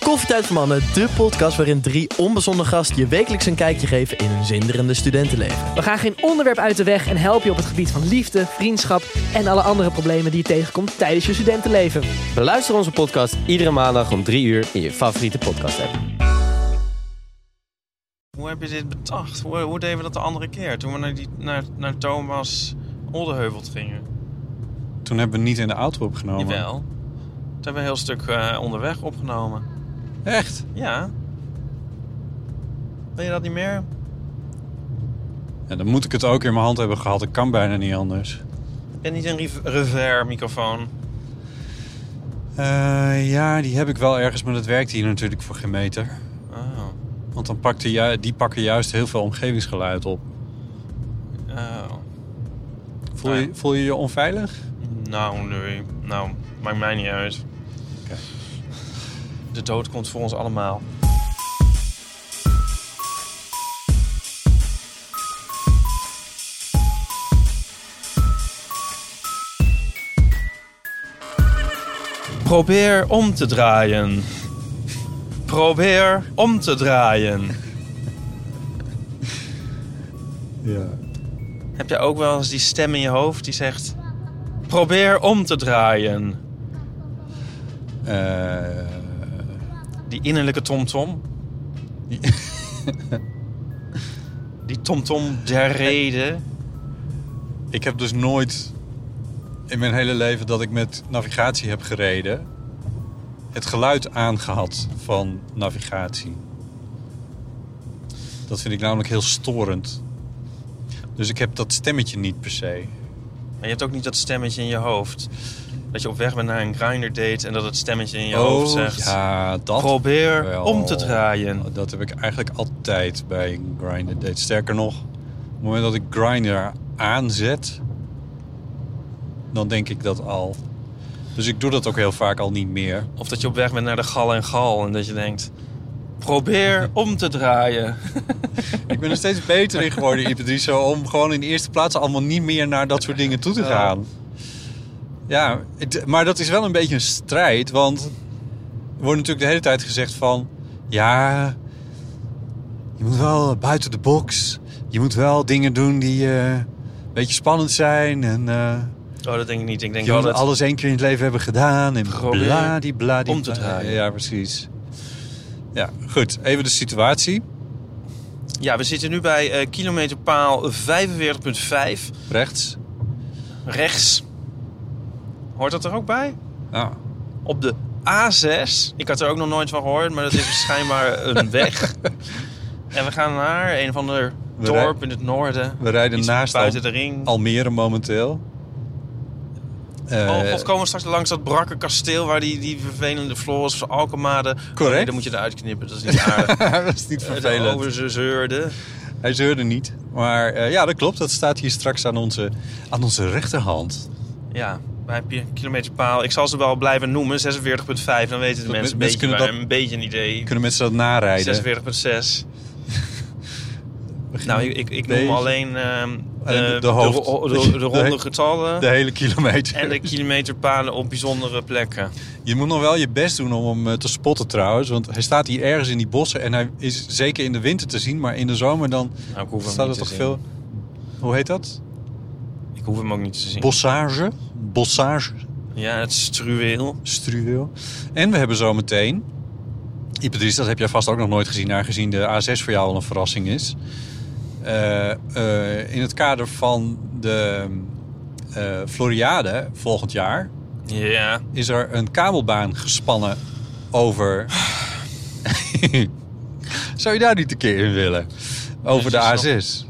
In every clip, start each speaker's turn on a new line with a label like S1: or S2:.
S1: Koffietijd voor Mannen, de podcast waarin drie onbezonnen gasten je wekelijks een kijkje geven in hun zinderende studentenleven.
S2: We gaan geen onderwerp uit de weg en helpen je op het gebied van liefde, vriendschap en alle andere problemen die je tegenkomt tijdens je studentenleven.
S3: Beluister onze podcast iedere maandag om 3 uur in je favoriete podcast app.
S4: Hoe heb je dit bedacht? Hoe, hoe deden we dat de andere keer? Toen we naar, die, naar, naar Thomas Oldeheuvelt gingen.
S5: Toen hebben we niet in de auto opgenomen.
S4: Jawel. Toen hebben we een heel stuk eh, onderweg opgenomen.
S5: Echt?
S4: Ja. Wil je dat niet meer?
S5: Ja, dan moet ik het ook in mijn hand hebben gehad. Ik kan bijna niet anders.
S4: Ik ben niet een rev- revers microfoon.
S5: Eh, ja, die heb ik wel ergens, maar dat werkt hier natuurlijk voor geen meter.
S4: Oh.
S5: Want dan pakt die, ju- die pakken juist heel veel omgevingsgeluid op.
S4: Oh.
S5: Voel,
S4: Ja.
S5: je, voel je je onveilig?
S4: Nou, nee. Nou, maakt mij niet uit.
S5: Oké.
S4: De dood komt voor ons allemaal. Probeer om te draaien. Probeer om te draaien.
S5: Ja.
S4: Heb jij ook wel eens die stem in je hoofd die zegt: Probeer om te draaien?
S5: Eh,
S4: Die innerlijke tomtom. Die- Die tomtom der reden.
S5: ik heb dus nooit in mijn hele leven dat ik met navigatie heb gereden... het geluid aangehad van navigatie. Dat vind ik namelijk heel storend. Dus ik heb dat stemmetje niet per se.
S4: Maar je hebt ook niet dat stemmetje in je hoofd. Dat je op weg bent naar een grinder date en dat het stemmetje in je hoofd zegt:
S5: Oh, Ja, dat
S4: Probeer
S5: wel. Oh,
S4: om te draaien.
S5: Dat heb ik eigenlijk altijd bij Grindr date. Sterker nog, op het moment dat ik Grindr aanzet, dan denk ik dat al. Dus ik doe dat ook heel vaak al niet meer.
S4: Of dat je op weg bent naar de gal en gal en dat je denkt: Probeer om te draaien.
S5: Ik ben er steeds beter in geworden, Ipedriso, om gewoon in de eerste plaats allemaal niet meer naar dat soort dingen toe te gaan. Ja, het- maar dat is wel een beetje een strijd, want er wordt natuurlijk de hele tijd gezegd van, ja, je moet wel buiten de box, je moet wel dingen doen die eh, een beetje spannend zijn en eh,
S4: Oh, dat denk ik niet. Ik denk
S5: je
S4: wel
S5: moet
S4: dat.
S5: alles één keer in het leven hebben gedaan en
S4: Probeer
S5: bladibladibla.
S4: om te draaien.
S5: Ja, precies. Ja, goed, even de situatie.
S4: Ja, we zitten nu bij eh, kilometerpaal 45.5
S5: Rechts.
S4: rechts. Hoort dat er ook bij?
S5: Nou,
S4: Op de A6. Ik had er ook nog nooit van gehoord, maar dat is schijnbaar een weg. En we gaan naar een of ander
S5: We
S4: dorp
S5: rij-
S4: in het noorden.
S5: We rijden
S4: Iets
S5: naast
S4: buiten
S5: Al-
S4: de ring.
S5: Almere momenteel. Eh,
S4: oh god, komen we straks langs dat brakke kasteel waar die, die vervelende Floris van Alkemade... Oh, nee,
S5: Correct.
S4: dat moet je eruit knippen, dat is niet aardig.
S5: dat is niet
S4: Eh,
S5: vervelend.
S4: Over ze zeurde.
S5: Hij zeurde niet. Maar eh, ja, dat klopt. Dat staat hier straks aan onze, aan onze rechterhand.
S4: Ja, bij pi- kilometerpaal. Ik zal ze wel blijven noemen, 46.5. Dan weten de mensen, een,
S5: mensen
S4: beetje,
S5: kunnen
S4: waar-
S5: dat-
S4: een beetje een idee.
S5: Kunnen mensen dat narijden?
S4: 46,6. nou, ik, ik, ik
S5: Deze.
S4: noem alleen ehm,
S5: Alleen de-
S4: eh,
S5: de hoofd.
S4: ro- de, de ronde
S5: De-
S4: getallen
S5: De hele kilometer.
S4: en de kilometerpalen op bijzondere plekken.
S5: Je moet nog wel je best doen om hem eh, te spotten trouwens. Want hij staat hier ergens in die bossen. En hij is zeker in de winter te zien. Maar in de zomer dan
S4: Nou, ik hoef hem
S5: staat
S4: niet
S5: er
S4: te zien.
S5: toch veel... Hoe heet dat?
S4: Ik hoef hem ook niet te zien.
S5: Bossage? Bossage?
S4: ja, het struweel.
S5: struweel. En we hebben zometeen... Ipadris, dat heb jij vast ook nog nooit gezien... aangezien de A6 voor jou al een verrassing is. Eh, eh, in het kader van de eh, Floriade volgend jaar...
S4: Ja,
S5: is er een kabelbaan gespannen over... Zou je daar niet een keer in willen? Over de
S4: Dat
S5: A6.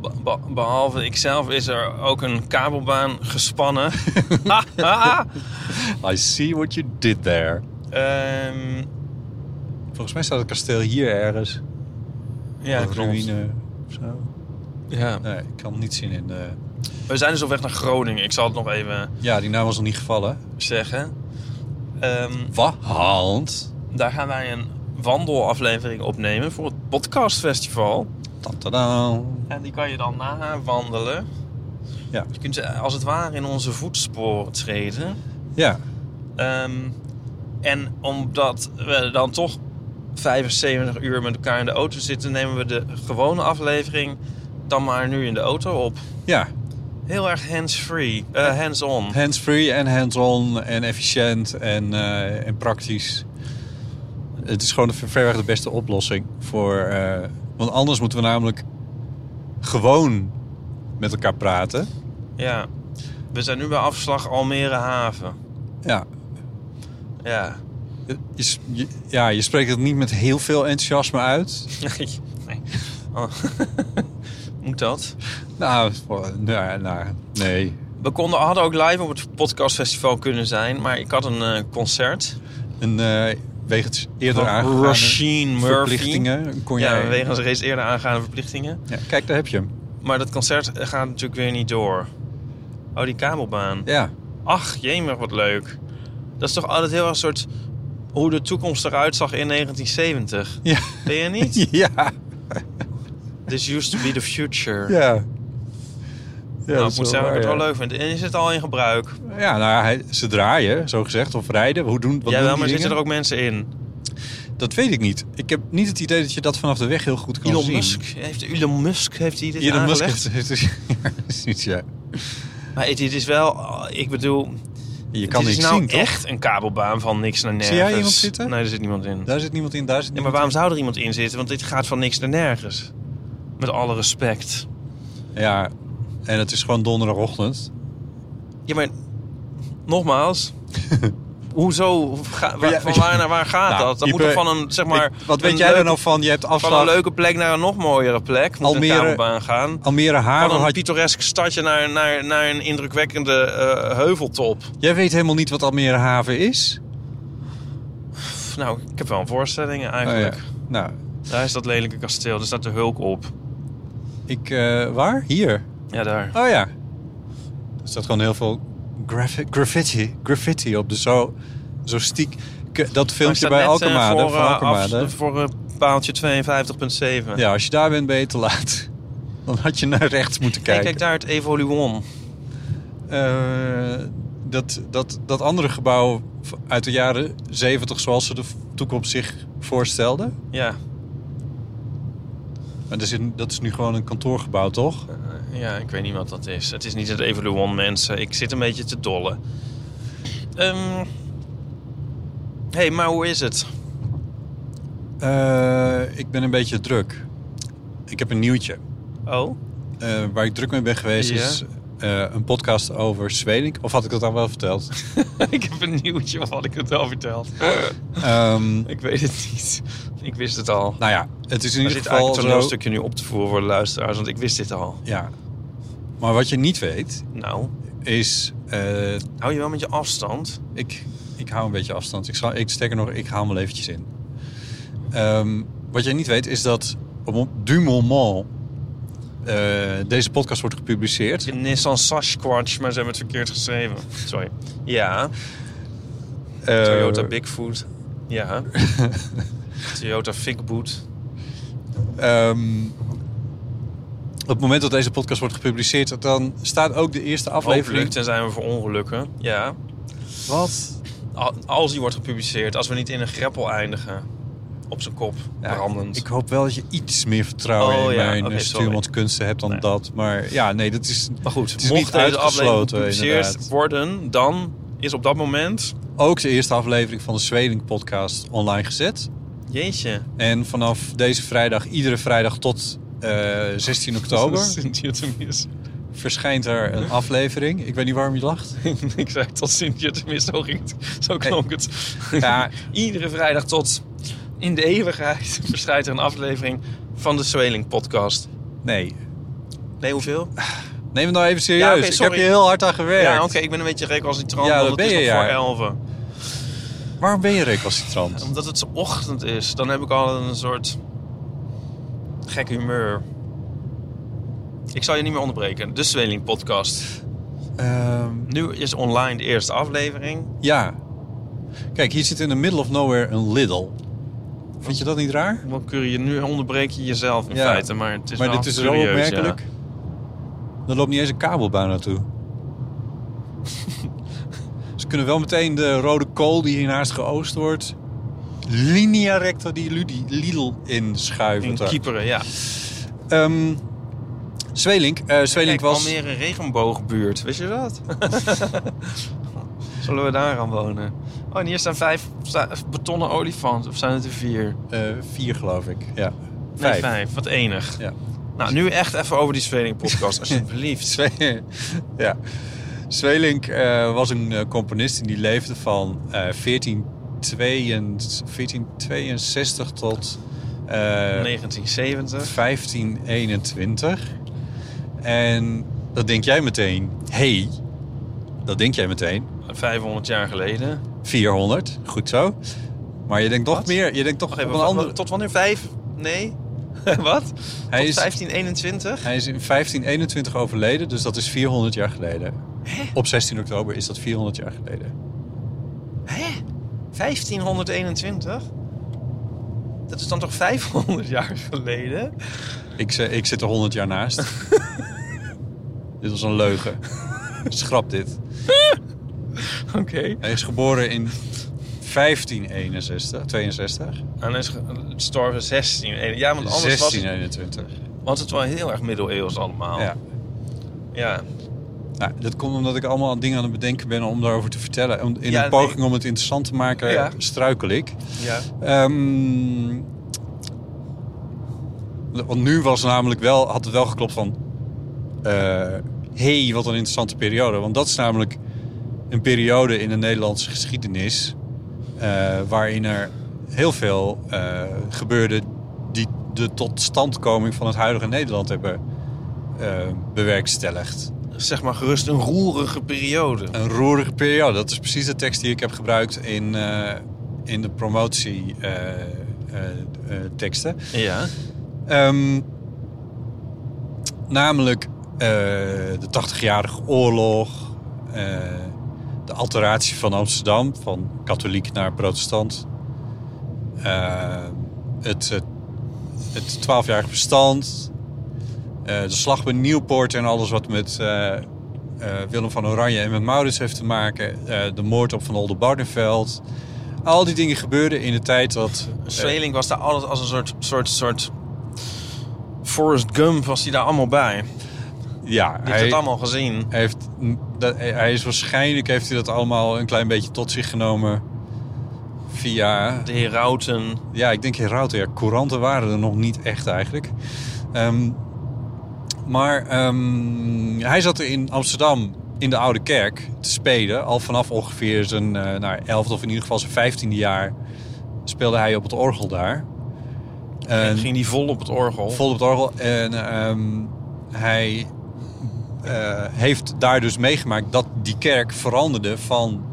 S4: be- be- behalve ikzelf is er ook een kabelbaan gespannen. Ha, ha, ha.
S5: I see what you did there.
S4: Ehm,
S5: Volgens mij staat het kasteel hier ergens.
S4: ja,
S5: Een
S4: klopt.
S5: ruïne of zo.
S4: Ja.
S5: Nee, ik kan niet zien in. eh,
S4: We zijn dus op weg naar Groningen. Ik zal het nog even
S5: Ja, die naam was nog niet gevallen.
S4: zeggen. Ehm,
S5: Wahand.
S4: daar gaan wij een wandelaflevering opnemen voor het podcastfestival.
S5: Tadada.
S4: En die kan je dan na wandelen.
S5: Ja.
S4: Je kunt eh, als het ware in onze voetsporen treden.
S5: Ja,
S4: Ehm, en omdat we dan toch 75 uur met elkaar in de auto zitten, nemen we de gewone aflevering dan maar nu in de auto op.
S5: ja.
S4: Heel erg hands-free, eh, hands-on.
S5: Hands-free en hands-on en efficiënt en, eh, en praktisch. Het is gewoon ver- verreweg de beste oplossing voor. eh, want anders moeten we namelijk gewoon met elkaar praten.
S4: Ja. We zijn nu bij afslag Almere Haven.
S5: Ja,
S4: Ja.
S5: je, je- ja, je spreekt het niet met heel veel enthousiasme uit.
S4: Nee. nee. Oh. Moet dat?
S5: Nou, voor- nou, nou nee.
S4: We konden, hadden ook live op het podcastfestival kunnen zijn, maar ik had een eh, concert.
S5: Een, eh wegens eerder
S4: Van
S5: aangegane
S4: Rasheen Murphy.
S5: verplichtingen kon jij...
S4: Ja, wegens reeds eerder aangaande verplichtingen.
S5: Ja, kijk, daar heb je hem.
S4: Maar dat concert eh, gaat natuurlijk weer niet door. Oh, die kabelbaan.
S5: Ja,
S4: Ach, jemig, wat leuk. Dat is toch altijd heel erg een soort... hoe de toekomst eruit zag in 1970.
S5: ja,
S4: Ben je niet? Nou,
S5: ja.
S4: This used to be the future.
S5: Ja. Ja,
S4: nou,
S5: dat
S4: ik
S5: is
S4: moet zeggen dat ik het
S5: waar,
S4: wel leuk vind. En is het al in gebruik?
S5: ja. Ja, nou, ja, hij- ze draaien, zo gezegd, of rijden. Hoe doen, wat
S4: ja,
S5: doen
S4: wel,
S5: die
S4: maar zitten er
S5: dingen?
S4: ook mensen in?
S5: Dat weet ik niet. Ik heb niet het idee dat je dat vanaf de weg heel goed kan
S4: Elon
S5: zien.
S4: Musk, heeft, Elon Musk heeft hij dit
S5: Elon Musk
S4: aangelegd?
S5: heeft, heeft dus... Ja, precies, ja.
S4: Maar het, het is wel... oh, Ik bedoel,
S5: Je kan
S4: dit is
S5: niks
S4: nou
S5: zien, toch?
S4: echt een kabelbaan van niks naar nergens.
S5: jij iemand zitten?
S4: Nee, er zit niemand in.
S5: Daar zit niemand in, daar zit
S4: Ja, maar
S5: niemand
S4: waarom zou er iemand in zitten? Want dit gaat van niks naar nergens. Met alle respect.
S5: in. Ja, en het is gewoon donderdagochtend.
S4: Ja, maar nogmaals. Hoezo? Ga- waar-
S5: ja,
S4: van waar naar waar gaat
S5: Nou,
S4: dat? Dat
S5: Ipe,
S4: moet toch van een, zeg maar...
S5: Ik- wat weet
S4: een
S5: jij er
S4: leuke-
S5: nou van? Je hebt
S4: Van een
S5: afslag
S4: leuke plek naar een nog mooiere plek. Moet
S5: Almere-
S4: een kabelbaan gaan.
S5: Almere Haven.
S4: Van een
S5: had-
S4: pittoresk stadje naar, naar, naar een indrukwekkende eh, heuveltop.
S5: Jij weet helemaal niet wat Almere Haven is.
S4: Pff, nou, ik heb wel een voorstelling eigenlijk.
S5: Oh, ja. Nou,
S4: Daar is dat lelijke kasteel. Daar staat de hulk op.
S5: ik... eh, waar? Hier.
S4: Ja, daar.
S5: Oh ja. Er staat gewoon heel veel graffi- graffiti, graffiti op. Dus zo, zo stiek... K- Dat filmpje bij
S4: Maar ik sta net, eh, Voor,
S5: Alkemade. van
S4: eh, af-
S5: Alkemade.
S4: voor eh, paaltje 52.7.
S5: Ja, als je daar bent, ben je te laat. Dan had je naar rechts moeten
S4: Kijk.
S5: kijken.
S4: kijk daar het Evoluon.
S5: Eh, dat, dat, dat andere gebouw v- uit de jaren zeventig... zoals ze de v- toekomst zich voorstelden.
S4: Ja,
S5: Maar er zit- dat is nu gewoon een kantoorgebouw, toch?
S4: ja, ik weet niet wat dat is. Het is niet het Evoluon, mensen. Ik zit een beetje te dollen. Ehm hey, maar hoe is het?
S5: Eh, ik ben een beetje druk. Ik heb een nieuwtje.
S4: Oh,
S5: Eh, waar ik druk mee ben geweest
S4: Ja.
S5: is eh, een podcast over Zweden. Of had ik dat al wel verteld?
S4: ik heb een nieuwtje, wat had ik het al verteld?
S5: Ehm,
S4: ik weet het niet. Ik wist het al.
S5: nou ja, het is in
S4: Er
S5: ieder
S4: zit
S5: geval
S4: eigenlijk een
S5: zo-
S4: toneelstukje nu op te voeren voor de luisteraars, want ik wist dit al.
S5: Ja. Maar wat je niet weet
S4: Nou,
S5: is, eh,
S4: hou je wel met je afstand?
S5: ik, ik hou een beetje afstand. Ik, zal, ik steek er nog, ik haal hem wel eventjes in. Ehm, wat je niet weet is dat op du moment eh, deze podcast wordt gepubliceerd.
S4: De Nissan Sasquatch, maar ze hebben het verkeerd geschreven. Sorry. Ja.
S5: Eh,
S4: Toyota Bigfoot. Ja. Toyota Figboot.
S5: Ehm, op het moment dat deze podcast wordt gepubliceerd, dan staat ook de eerste
S4: Hopelijk,
S5: aflevering.
S4: tenzij we voor ongelukken. Ja.
S5: Wat?
S4: Al- Als die wordt gepubliceerd, als we niet in een greppel eindigen. Op zijn kop, brandend.
S5: Ik hoop wel dat je iets meer vertrouwen
S4: Oh,
S5: in
S4: ja,
S5: mijn
S4: oké,
S5: eh,
S4: sorry.
S5: stuurmanskunsten hebt dan
S4: Nee.
S5: dat. Maar ja, nee, dat is,
S4: maar
S5: het
S4: goed,
S5: is
S4: mocht
S5: niet
S4: deze aflevering
S5: uitgesloten
S4: gepubliceerd
S5: inderdaad.
S4: worden, dan is op dat moment...
S5: Ook de eerste aflevering van de Zweden podcast online gezet.
S4: Jeetje.
S5: En vanaf deze vrijdag, iedere vrijdag tot eh, 16 oktober,
S4: Sint-Jutemis.
S5: verschijnt er een aflevering. Ik weet niet waarom je lacht.
S4: ik zei tot Sint-Jutemis, zo, ging het- zo klonk het.
S5: Ja,
S4: Iedere vrijdag tot in de eeuwigheid verschijnt er een aflevering van de Zweling podcast.
S5: nee.
S4: Nee, hoeveel?
S5: Neem het nou even serieus.
S4: Ja, oké,
S5: ik heb
S4: sorry.
S5: je heel hard aan gewerkt.
S4: Ja, oké, ik ben een beetje recalcitrant.
S5: Ja,
S4: Ja,
S5: dat
S4: dat
S5: ben
S4: is
S5: je,
S4: nog
S5: ja.
S4: voor elven.
S5: Waarom ben je recalcitrant?
S4: Omdat het ochtend is, dan heb ik al een soort gek humeur. Ik zal je niet meer onderbreken. De Zweling podcast.
S5: Ehm,
S4: Nu is online de eerste aflevering.
S5: ja. Kijk, hier zit in the middle of nowhere een Lidl. Vind je dat niet raar?
S4: Wat kun je nu onderbreek je jezelf in
S5: Ja.
S4: feite, maar het is
S5: maar
S4: wel
S5: dit is zo
S4: curieus, ja.
S5: opmerkelijk. Er loopt niet eens een kabelbaan naartoe. Ze kunnen wel meteen de rode kool die hiernaast geoost wordt... linea recta die Ludi- Lidl inschuiven.
S4: In Kieperen, ja.
S5: Ehm, Zwelink. eh Zwelink
S4: Kijk,
S5: was...
S4: Almere een regenboogbuurt, wist je dat? Zullen we daar gaan wonen? Oh, en hier staan vijf sta- betonnen olifanten. Of zijn het er vier?
S5: eh, vier, geloof ik. Ja.
S4: Nee, vijf. Wat enig.
S5: Ja.
S4: Nou, nu echt even over die Zweling podcast, alsjeblieft.
S5: Zwe- ja. Zwelink eh, was een eh, componist en die leefde van eh 1462 1462 tot eh,
S4: 1970.
S5: 1521. En dat denk jij meteen. hey, dat denk jij meteen.
S4: 500 jaar geleden.
S5: 400, goed zo. Maar je denkt toch
S4: Wat?
S5: meer. Je denkt toch
S4: Wacht even,
S5: op een
S4: wa-
S5: andere...
S4: wa- tot wanneer? Vijf? Nee? Wat? Tot
S5: Hij is-
S4: 1521?
S5: Hij is in 1521 overleden, dus dat is 400 jaar geleden. Op 16 oktober is dat 400 jaar geleden.
S4: Hè? 1521? Dat is dan toch 500 jaar geleden?
S5: Ik, ze- ik zit er 100 jaar naast. dit was een leugen. Schrap dit.
S4: Oké.
S5: Hij is geboren in 1561, 62.
S4: En hij is ge- gestorven 16. Ja, want anders was, Oh. het,
S5: 1621.
S4: was het wel heel erg middeleeuws allemaal.
S5: Ja.
S4: ja.
S5: Nou, dat komt omdat ik allemaal dingen aan het bedenken ben om daarover te vertellen. Om- In
S4: Ja,
S5: een poging
S4: nee.
S5: om het interessant te maken,
S4: Ja.
S5: struikel ik.
S4: Ja.
S5: Ehm, want nu was namelijk wel, had het wel geklopt van... eh hey, wat een interessante periode. Want dat is namelijk een periode in de Nederlandse geschiedenis... eh, waarin er heel veel eh, gebeurde... die de totstandkoming van het huidige Nederland hebben eh, bewerkstelligd.
S4: Zeg maar gerust een roerige periode.
S5: Een roerige periode. Dat is precies de tekst die ik heb gebruikt in, eh, in de eh, promotieteksten.
S4: Ja.
S5: Ehm, namelijk eh, de 80-jarige oorlog, eh, de alteratie van Amsterdam, van katholiek naar protestant, eh, het, eh, het 12-jarig bestand, eh, de slag bij Nieuwpoort en alles wat met eh, eh, Willem van Oranje en met Maurits heeft te maken, eh, de moord op Van Oldenbarneveld. Al die dingen gebeurden in de tijd dat... eh,
S4: Zweling was daar altijd als een soort, soort, soort... Forrest Gump was hij daar allemaal bij. Die
S5: ja,
S4: heeft het allemaal gezien.
S5: Hij, heeft, dat, hij is waarschijnlijk heeft hij dat allemaal een klein beetje tot zich genomen via.
S4: De herauten.
S5: Ja, ik denk Herauten. Ja, couranten waren er nog niet echt eigenlijk. Ehm, maar ehm, hij zat in Amsterdam in de Oude Kerk te spelen. Al vanaf ongeveer zijn eh nou, elfde of in ieder geval zijn vijftiende jaar speelde hij op het orgel daar.
S4: En
S5: En-
S4: ging die vol op het orgel.
S5: vol op het orgel. En ehm, hij eh, heeft daar dus meegemaakt dat die kerk veranderde van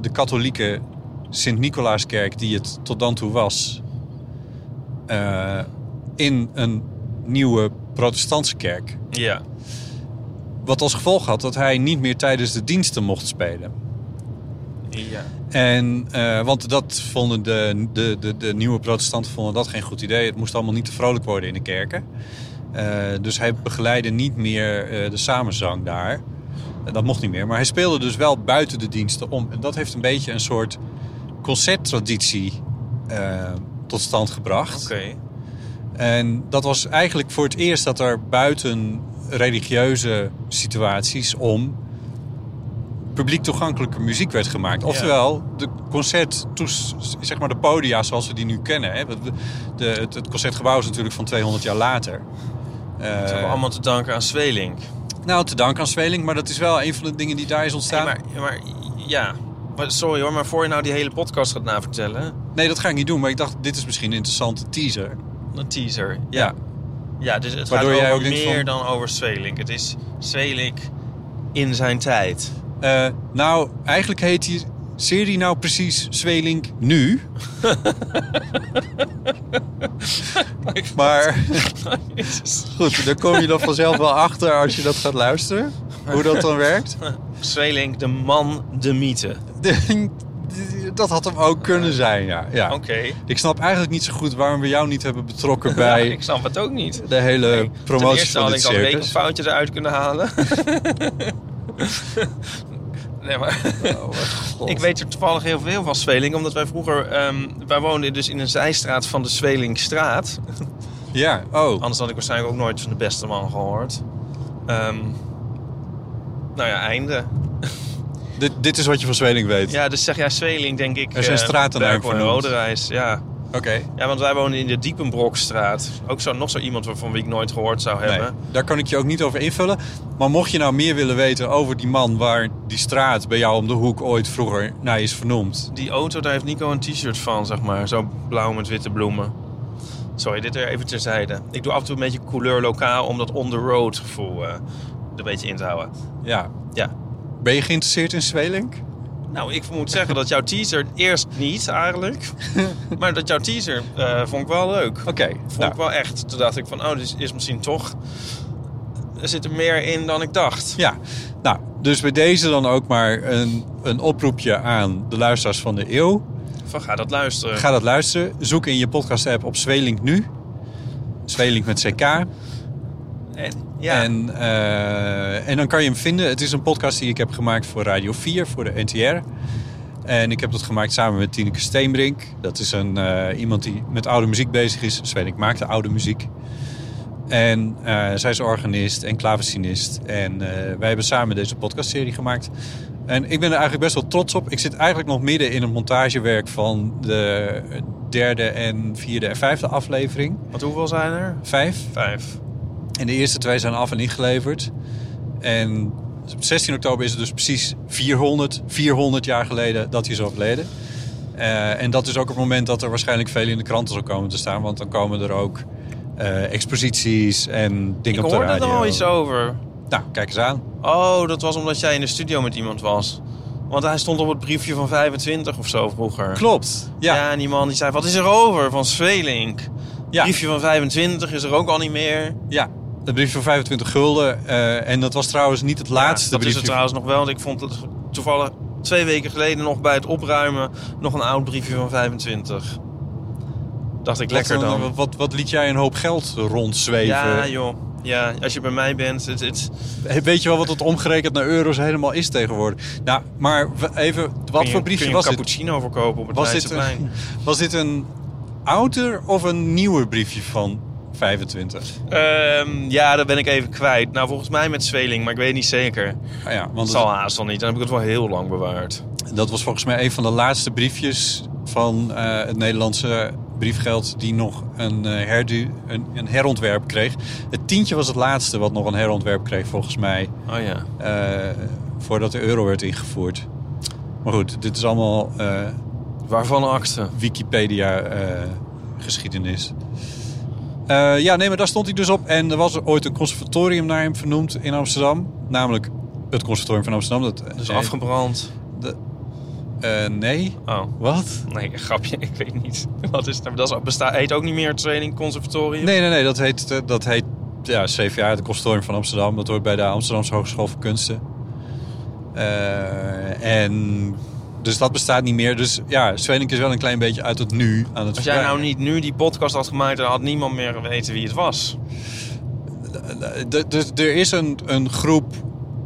S5: de katholieke Sint-Nicolaaskerk, die het tot dan toe was, eh, in een nieuwe protestantse kerk.
S4: Ja.
S5: Wat als gevolg had dat hij niet meer tijdens de diensten mocht spelen.
S4: Ja.
S5: En, eh, want dat vonden de, de, de, de nieuwe protestanten vonden dat geen goed idee. Het moest allemaal niet te vrolijk worden in de kerken. Eh, dus hij begeleidde niet meer eh, de samenzang daar. Eh, dat mocht niet meer. Maar hij speelde dus wel buiten de diensten om. En dat heeft een beetje een soort concerttraditie eh, tot stand gebracht.
S4: Oké.
S5: En dat was eigenlijk voor het eerst dat er buiten religieuze situaties om publiek toegankelijke muziek werd gemaakt. Oftewel, de concert, zeg maar de podia zoals we die nu kennen. Hè. Want we- De, het, het concertgebouw is natuurlijk van 200 jaar later. Eh,
S4: Dat hebben we allemaal te danken aan Zweling.
S5: Nou, te danken aan Zweling, maar dat is wel een van de dingen die daar is
S4: Hey,
S5: ontstaan.
S4: maar, maar ja... Maar Sorry hoor, maar voor je nou die hele podcast gaat navertellen...
S5: Nee, dat ga ik niet doen, maar ik dacht, dit is misschien een interessante teaser.
S4: Een teaser.
S5: Ja.
S4: Ja, dus het
S5: Waardoor
S4: gaat
S5: jij
S4: over
S5: ook denkt
S4: meer
S5: van-
S4: dan over Zweling. Het is Zweling in zijn tijd.
S5: Eh, nou, eigenlijk heet die serie nou precies Zwelink nu. maar goed, daar kom je dan vanzelf wel achter als je dat gaat luisteren. Hoe dat dan werkt.
S4: Zweling, de man, de mythe.
S5: Dat had hem ook kunnen zijn, ja. ja.
S4: Oké.
S5: Ik snap eigenlijk niet zo goed waarom we jou niet hebben betrokken
S4: Ja,
S5: bij
S4: ik snap het ook niet.
S5: de hele
S4: Ten
S5: promotie
S4: eerste
S5: van
S4: had
S5: dit
S4: ik al een een
S5: circus.
S4: foutje eruit kunnen halen. nee, maar... ik weet er toevallig heel veel van Zweling. Omdat wij vroeger... ehm, wij woonden dus in een zijstraat van de Zwelingstraat.
S5: Ja, oh.
S4: Anders had ik waarschijnlijk ook nooit van de beste man gehoord. Ehm, nou ja, einde.
S5: Dit, dit is wat je van Zweling weet.
S4: Ja, dus zeg jij Zweling, denk ik.
S5: Er zijn
S4: eh,
S5: straten naar hem
S4: Berkel en
S5: vernoemd.
S4: Roderijs, ja.
S5: Oké.
S4: Ja, want wij wonen in de Diepenbrokstraat. Ook zo, nog zo iemand waarvan wie ik nooit gehoord zou
S5: Nee,
S4: hebben.
S5: daar kan ik je ook niet over invullen. Maar mocht je nou meer willen weten over die man waar die straat bij jou om de hoek ooit vroeger naar is vernoemd.
S4: Die auto, daar heeft Nico een t-shirt van, zeg maar. Zo blauw met witte bloemen. Sorry, dit er even terzijde. Ik doe af en toe een beetje couleur lokaal om dat on-the-road gevoel eh, er een beetje in te houden.
S5: Ja.
S4: Ja.
S5: Ben je geïnteresseerd in Zwelink?
S4: Nou, ik moet zeggen dat jouw teaser eerst niet eigenlijk. maar dat jouw teaser eh, vond ik wel leuk. Vond
S5: Oké.
S4: ik
S5: nou,
S4: wel echt. Toen dacht ik van, oh, dit is misschien toch... Er zit er meer in dan ik dacht.
S5: ja. Nou, dus bij deze dan ook maar een, een oproepje aan de luisteraars van de eeuw.
S4: Van, ga dat luisteren.
S5: Ga dat luisteren. Zoek in je podcast app op Zwelink nu. Zwelink met CK.
S4: En, ja.
S5: En, eh, en dan kan je hem vinden. Het is een podcast die ik heb gemaakt voor Radio 4, voor de NTR. En ik heb dat gemaakt samen met Tineke Steenbrink. Dat is een, eh, iemand die met oude muziek bezig is. Sven, ik maakte oude muziek. En eh, zij is organist en klavecinist. En eh, wij hebben samen deze podcastserie gemaakt. En ik ben er eigenlijk best wel trots op. Ik zit eigenlijk nog midden in het montagewerk van de derde en vierde en vijfde aflevering.
S4: Want hoeveel zijn er?
S5: Vijf.
S4: Vijf.
S5: En de eerste twee zijn af en ingeleverd. En op 16 oktober is het dus precies 400, 400 jaar geleden dat hij is overleden. Eh, en dat is ook het moment dat er waarschijnlijk veel in de kranten zal komen te staan. Want dan komen er ook eh, exposities en
S4: Ik
S5: dingen op de
S4: hoorde
S5: radio.
S4: er al iets over.
S5: Nou, kijk eens aan.
S4: Oh, dat was omdat jij in de studio met iemand was. Want hij stond op het briefje van 25 of zo vroeger.
S5: Klopt. Ja,
S4: Ja, en die man die zei, wat is er over van Svelink?
S5: ja,
S4: Briefje van 25 is er ook al niet meer.
S5: ja. Het briefje van 25 gulden. eh, en dat was trouwens niet het laatste
S4: Ja, dat is
S5: briefje.
S4: het trouwens nog wel. Want ik vond het toevallig twee weken geleden nog bij het opruimen nog een oud briefje van 25. Dacht ik,
S5: Wat
S4: lekker
S5: dan-
S4: dan.
S5: Wat, wat liet jij een hoop geld rondzweven?
S4: Ja, joh. Ja, als je bij mij bent, het, het,
S5: Hey, Weet je wel wat dat omgerekend naar euro's helemaal is tegenwoordig? Nou, maar w- even, wat
S4: kun je-
S5: voor
S4: kun
S5: briefje
S4: je
S5: was
S4: een
S5: dit?
S4: cappuccino verkopen op het
S5: Was dit,
S4: Leidseplein.
S5: een, was dit een ouder of een nieuwer briefje van 25?
S4: Ehm, ja, dat ben ik even kwijt. Nou, volgens mij met Zweling, maar ik weet niet zeker.
S5: Ah ja,
S4: Dat
S5: want
S4: zal
S5: dat,
S4: haast al niet. Dan heb ik het wel heel lang bewaard.
S5: dat was volgens mij een van de laatste briefjes van eh, het Nederlandse briefgeld die nog een, eh, herdu, een, een herontwerp kreeg. Het tientje was het laatste wat nog een herontwerp kreeg volgens mij.
S4: Oh ja.
S5: eh, voordat de euro werd ingevoerd. Maar goed, dit is allemaal... eh,
S4: Waarvan akte?
S5: Wikipedia-geschiedenis. eh, ja, nee, maar daar stond hij dus op. En er was er ooit een conservatorium naar hem vernoemd in Amsterdam. Namelijk het Conservatorium van Amsterdam. Dat,
S4: Dus
S5: eh,
S4: afgebrand.
S5: eh, nee.
S4: Oh.
S5: Wat?
S4: Nee, een grapje. Ik weet niet. Wat is het? Dat is- bestaat, heet ook niet meer het Zweling Conservatorium.
S5: Nee, nee, nee. Dat heet, eh, dat heet ja, CVA, het Conservatorium van Amsterdam. Dat hoort bij de Amsterdamse Hogeschool voor Kunsten. Eh, en... Dus dat bestaat niet meer. Dus ja, Zwening is wel een klein beetje uit het nu aan het
S4: Als jij nou
S5: verdwijnen.
S4: niet nu die podcast had gemaakt, dan had niemand meer geweten wie het was.
S5: D- Dus er is een, een groep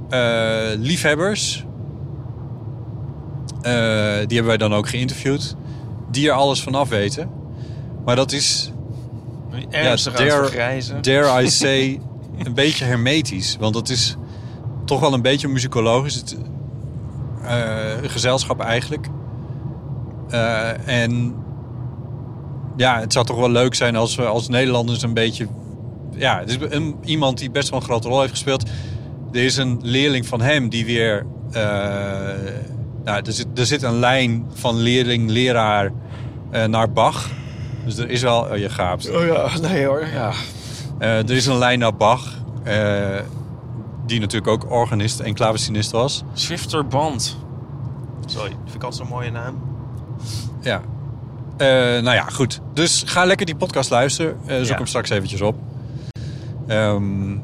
S5: eh, liefhebbers. Eh, die hebben wij dan ook geïnterviewd. Die er alles vanaf weten. Maar dat is,
S4: Ernstig aan het
S5: dare-
S4: vergrijzen.
S5: dare I say, een beetje hermetisch. Want dat is toch wel een beetje muzikologisch. Het, eh, gezelschap eigenlijk. Eh, en ja, het zou toch wel leuk zijn als we als Nederlanders een beetje... Ja, het is een, iemand die best wel een grote rol heeft gespeeld. Er is een leerling van hem die weer... eh, nou, er zit, er zit een lijn van leerling, leraar eh, naar Bach. Dus er is wel... Oh, je gaapt.
S4: Oh ja, nee hoor. Ja.
S5: Eh, er is een Leina Bach, eh, die natuurlijk ook organist en klavecinist was.
S4: Swifter Band. Sorry, vind ik altijd zo'n mooie naam.
S5: Ja. Eh, nou ja, goed. Dus ga lekker die podcast luisteren. Eh, zoek
S4: Ja.
S5: hem straks eventjes op. Ehm,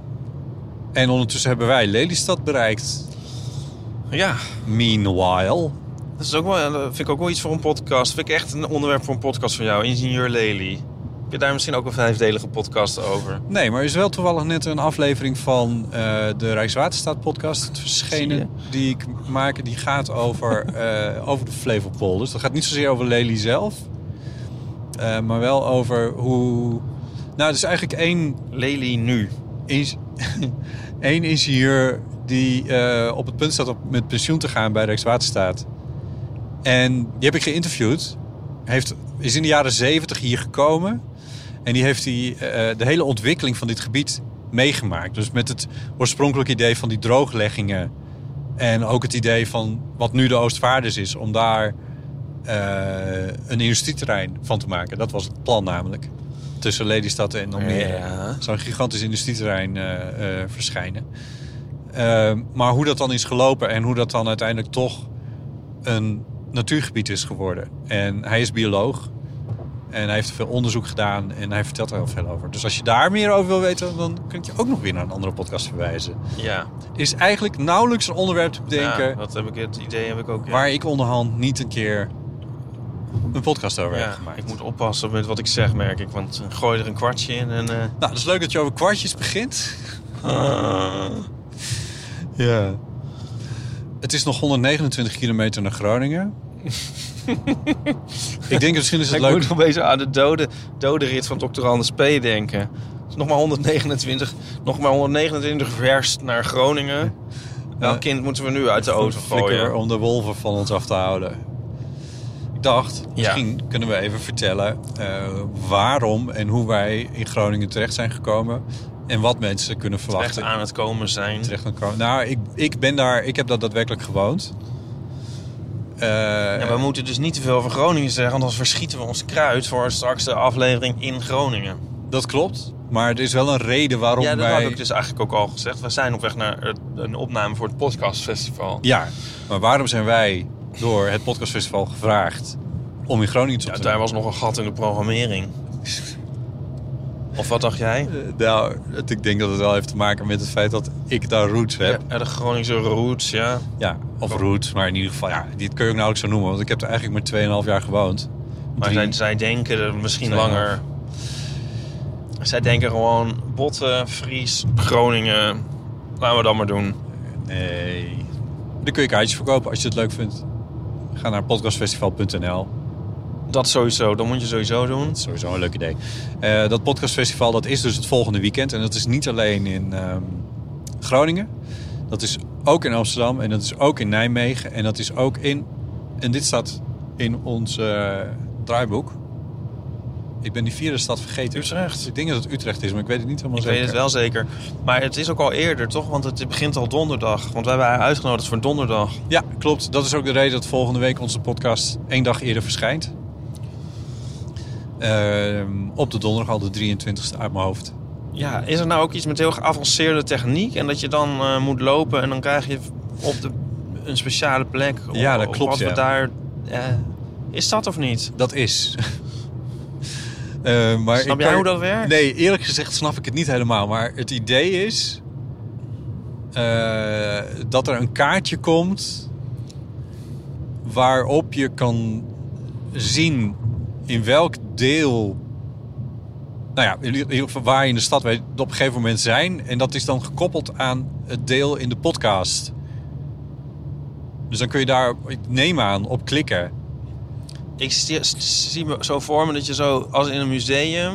S5: en ondertussen hebben wij Lelystad bereikt.
S4: Ja,
S5: Meanwhile.
S4: dat is ook wel, dat vind ik ook wel iets voor een podcast. Vind ik echt een onderwerp voor een podcast van jou, Ingenieur Lely. Heb je daar misschien ook een vijfdelige podcast over?
S5: Nee, maar er is wel toevallig net een aflevering van eh, de Rijkswaterstaat podcast
S4: Zie
S5: verschenen. Die ik maak, die gaat over, eh, over de Flevopol. Dus dat gaat niet zozeer over Lely zelf. eh, maar wel over hoe... Nou, er is eigenlijk één
S4: Lely nu.
S5: Eens- Eén ingenieur die eh, op het punt staat om met pensioen te gaan bij Rijkswaterstaat. En die heb ik geïnterviewd. Heeft, is in de jaren zeventig hier gekomen. En die heeft die, eh, de hele ontwikkeling van dit gebied meegemaakt. Dus met het oorspronkelijk idee van die droogleggingen. En ook het idee van wat nu de Oostvaarders is. Om daar eh, een industrieterrein van te maken. Dat was het plan namelijk. Tussen Lelystad en Almere
S4: Ja.
S5: zo'n gigantisch industrieterrein eh, eh, verschijnen. Eh, maar hoe dat dan is gelopen en hoe dat dan uiteindelijk toch een natuurgebied is geworden. En hij is bioloog en hij heeft veel onderzoek gedaan en hij vertelt er heel veel over. Dus als je daar meer over wil weten, dan kun ik je ook nog weer naar een andere podcast verwijzen.
S4: Ja,
S5: Er is eigenlijk nauwelijks een onderwerp te bedenken
S4: Ja, dat heb ik, het idee heb ik ook. ja.
S5: waar ik onderhand niet een keer een podcast over heb
S4: ja,
S5: gemaakt.
S4: ik moet oppassen met wat ik zeg, merk ik. Want eh, gooi er een kwartje in en... eh,
S5: Nou, het is leuk dat je over kwartjes begint.
S4: Ah.
S5: Ja. Het is nog 129 kilometer naar Groningen. ik denk misschien is het
S4: ik
S5: leuk.
S4: moet nog bezig aan de dode, dode rit van Dr. Anders P. denken. Het is nog maar 129, nog maar 129 vers naar Groningen. Welk kind moeten we nu uit de auto
S5: flikker
S4: gooien?
S5: om de wolven van ons af te houden. Ik dacht, misschien kunnen we even vertellen eh, waarom en hoe wij in Groningen terecht zijn gekomen. En wat mensen kunnen
S4: Echt
S5: verwachten.
S4: aan het komen zijn.
S5: Terecht aan komen. Nou, ik, ik ben daar, ik heb dat daadwerkelijk gewoond. Eh,
S4: En we moeten dus niet te veel van Groningen zeggen, want anders verschieten we ons kruid voor straks de aflevering in Groningen.
S5: Dat klopt. Maar er is wel een reden waarom
S4: ja, dat
S5: wij...
S4: had ik dus eigenlijk ook al gezegd. We zijn op weg naar het- een opname voor het podcastfestival.
S5: Ja, maar waarom zijn wij door het podcastfestival gevraagd om in Groningen te
S4: Ja,
S5: optreden?
S4: daar was nog een gat in de programmering. Of wat dacht jij?
S5: Eh, Nou, het- ik denk dat het wel heeft te maken met het feit dat ik daar roots heb.
S4: Ja, de Groningse roots, ja.
S5: Ja, of roots, maar in ieder geval, ja, dit kun je ook nauwelijks zo noemen, want ik heb er eigenlijk maar 2,5 jaar gewoond.
S4: Maar
S5: Drie.
S4: zij, zij denken er misschien
S5: Tweeënhalf.
S4: langer. Zij denken gewoon Botten, Fries, Groningen. Laten we dat maar doen.
S5: Nee. Dan kun je kaartjes verkopen als je het leuk vindt. Ga naar podcastfestival.nl.
S4: Dat sowieso, dat moet je sowieso doen.
S5: Sowieso een leuk idee. Eh, dat podcastfestival dat is dus het volgende weekend. En dat is niet alleen in ehm, Groningen. Dat is ook in Amsterdam. En dat is ook in Nijmegen. En dat is ook in... En dit staat in ons eh, draaiboek. Ik ben die vierde stad vergeten. Utrecht. Ik denk dat het Utrecht is, maar ik weet het niet helemaal
S4: Ik
S5: zeker.
S4: weet het wel zeker. Maar het is ook al eerder, toch? Want het begint al donderdag. Want wij waren uitgenodigd voor donderdag.
S5: Ja, klopt. Dat is ook de reden dat volgende week onze podcast één dag eerder verschijnt. Ehm, op de donderdag al de 23ste uit mijn hoofd.
S4: Ja, is er nou ook iets met heel geavanceerde techniek? En dat je dan eh, moet lopen en dan krijg je op de, een speciale plek. Op,
S5: Ja, dat
S4: op
S5: klopt,
S4: Wat
S5: ja.
S4: we daar... eh, is dat of niet?
S5: Dat is. Eh, maar
S4: Snap
S5: ik
S4: jij
S5: kan-
S4: hoe dat werkt?
S5: Nee, eerlijk gezegd snap ik het niet helemaal. Maar het idee is eh, dat er een kaartje komt waarop je kan zien in welk deel, nou ja, in ieder geval waar je in de stad weet, op een gegeven moment zijn. En dat is dan gekoppeld aan het deel in de podcast. Dus dan kun je daar, ik neem aan, op klikken.
S4: Ik zie, zie me zo voor me dat je zo, als in een museum...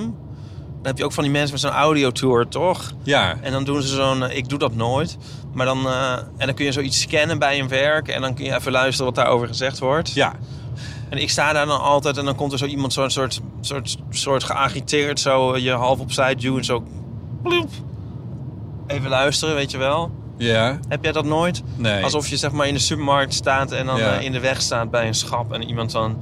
S4: Dan heb je ook van die mensen met zo'n audiotour, toch?
S5: Ja.
S4: En dan doen ze zo'n, eh, ik doe dat nooit. Maar dan, eh, en dan kun je zoiets scannen bij een werk. En dan kun je even luisteren wat daarover gezegd wordt.
S5: Ja,
S4: En ik sta daar dan altijd en dan komt er zo iemand zo'n soort, soort, soort geagiteerd. Zo eh, je half opzij duwen en zo... bloep. Even luisteren, weet je wel.
S5: ja.
S4: Heb jij dat nooit?
S5: Nee.
S4: Alsof je zeg maar in de supermarkt staat en dan
S5: Ja.
S4: eh, in de weg staat bij een schap en iemand dan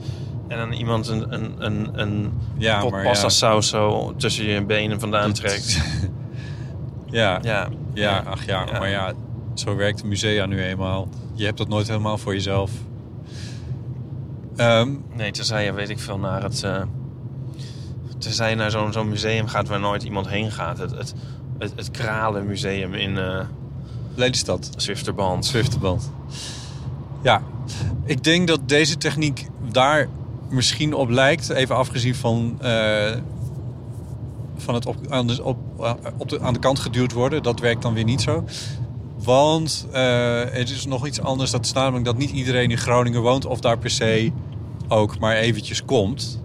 S4: En dan iemand een, een, een, een
S5: Ja,
S4: pot
S5: maar ja.
S4: pasta saus zo tussen je benen vandaan trekt.
S5: Ja, ja,
S4: Ja,
S5: ach ja,
S4: Ja.
S5: maar ja, zo werkt de musea nu eenmaal. Je hebt dat nooit helemaal voor jezelf. Ehm,
S4: nee, tenzij je weet ik veel naar het... eh tenzij je naar zo'n zo'n museum gaat waar nooit iemand heen gaat. Het, het, het, het Kralenmuseum in eh
S5: Lelystad,
S4: Zwifterband.
S5: Zwifterband. Ja, ik denk dat deze techniek daar misschien op lijkt. Even afgezien van, eh, van het op, aan, de, op, eh, op de, aan de kant geduwd worden. Dat werkt dan weer niet zo. Want eh, het is nog iets anders. Dat is namelijk dat niet iedereen in Groningen woont of daar per se ook maar eventjes komt.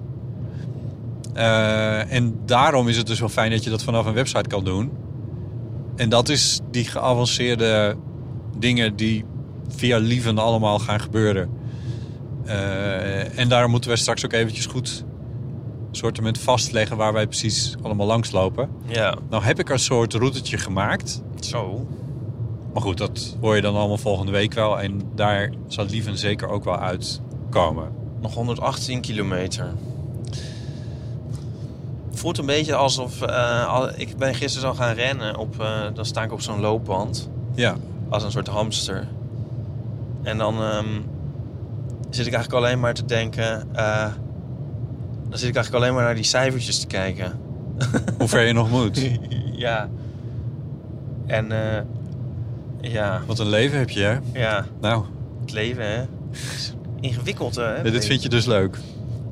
S5: Eh, en daarom is het dus wel fijn dat je dat vanaf een website kan doen. En dat is die geavanceerde dingen die via lieven allemaal gaan gebeuren. Eh, en daar moeten we straks ook eventjes goed sortiment vastleggen waar wij precies allemaal langs lopen.
S4: Ja,
S5: Nou heb ik een soort routetje gemaakt.
S4: zo.
S5: Maar goed, dat hoor je dan allemaal volgende week wel. En daar zal lieven zeker ook wel uitkomen.
S4: Nog 118 kilometer. Voelt een beetje alsof... eh, al- ik ben gisteren al gaan rennen. Op, eh, dan sta ik op zo'n loopband.
S5: Ja,
S4: Als een soort hamster. En dan ehm, zit ik eigenlijk alleen maar te denken... eh, dan zit ik eigenlijk alleen maar naar die cijfertjes te kijken.
S5: hoe ver je nog moet.
S4: ja. En eh, ja,
S5: Wat een leven heb je, hè?
S4: ja,
S5: Nou,
S4: het leven hè. Is Ingewikkeld hè.
S5: dit vind je dus leuk.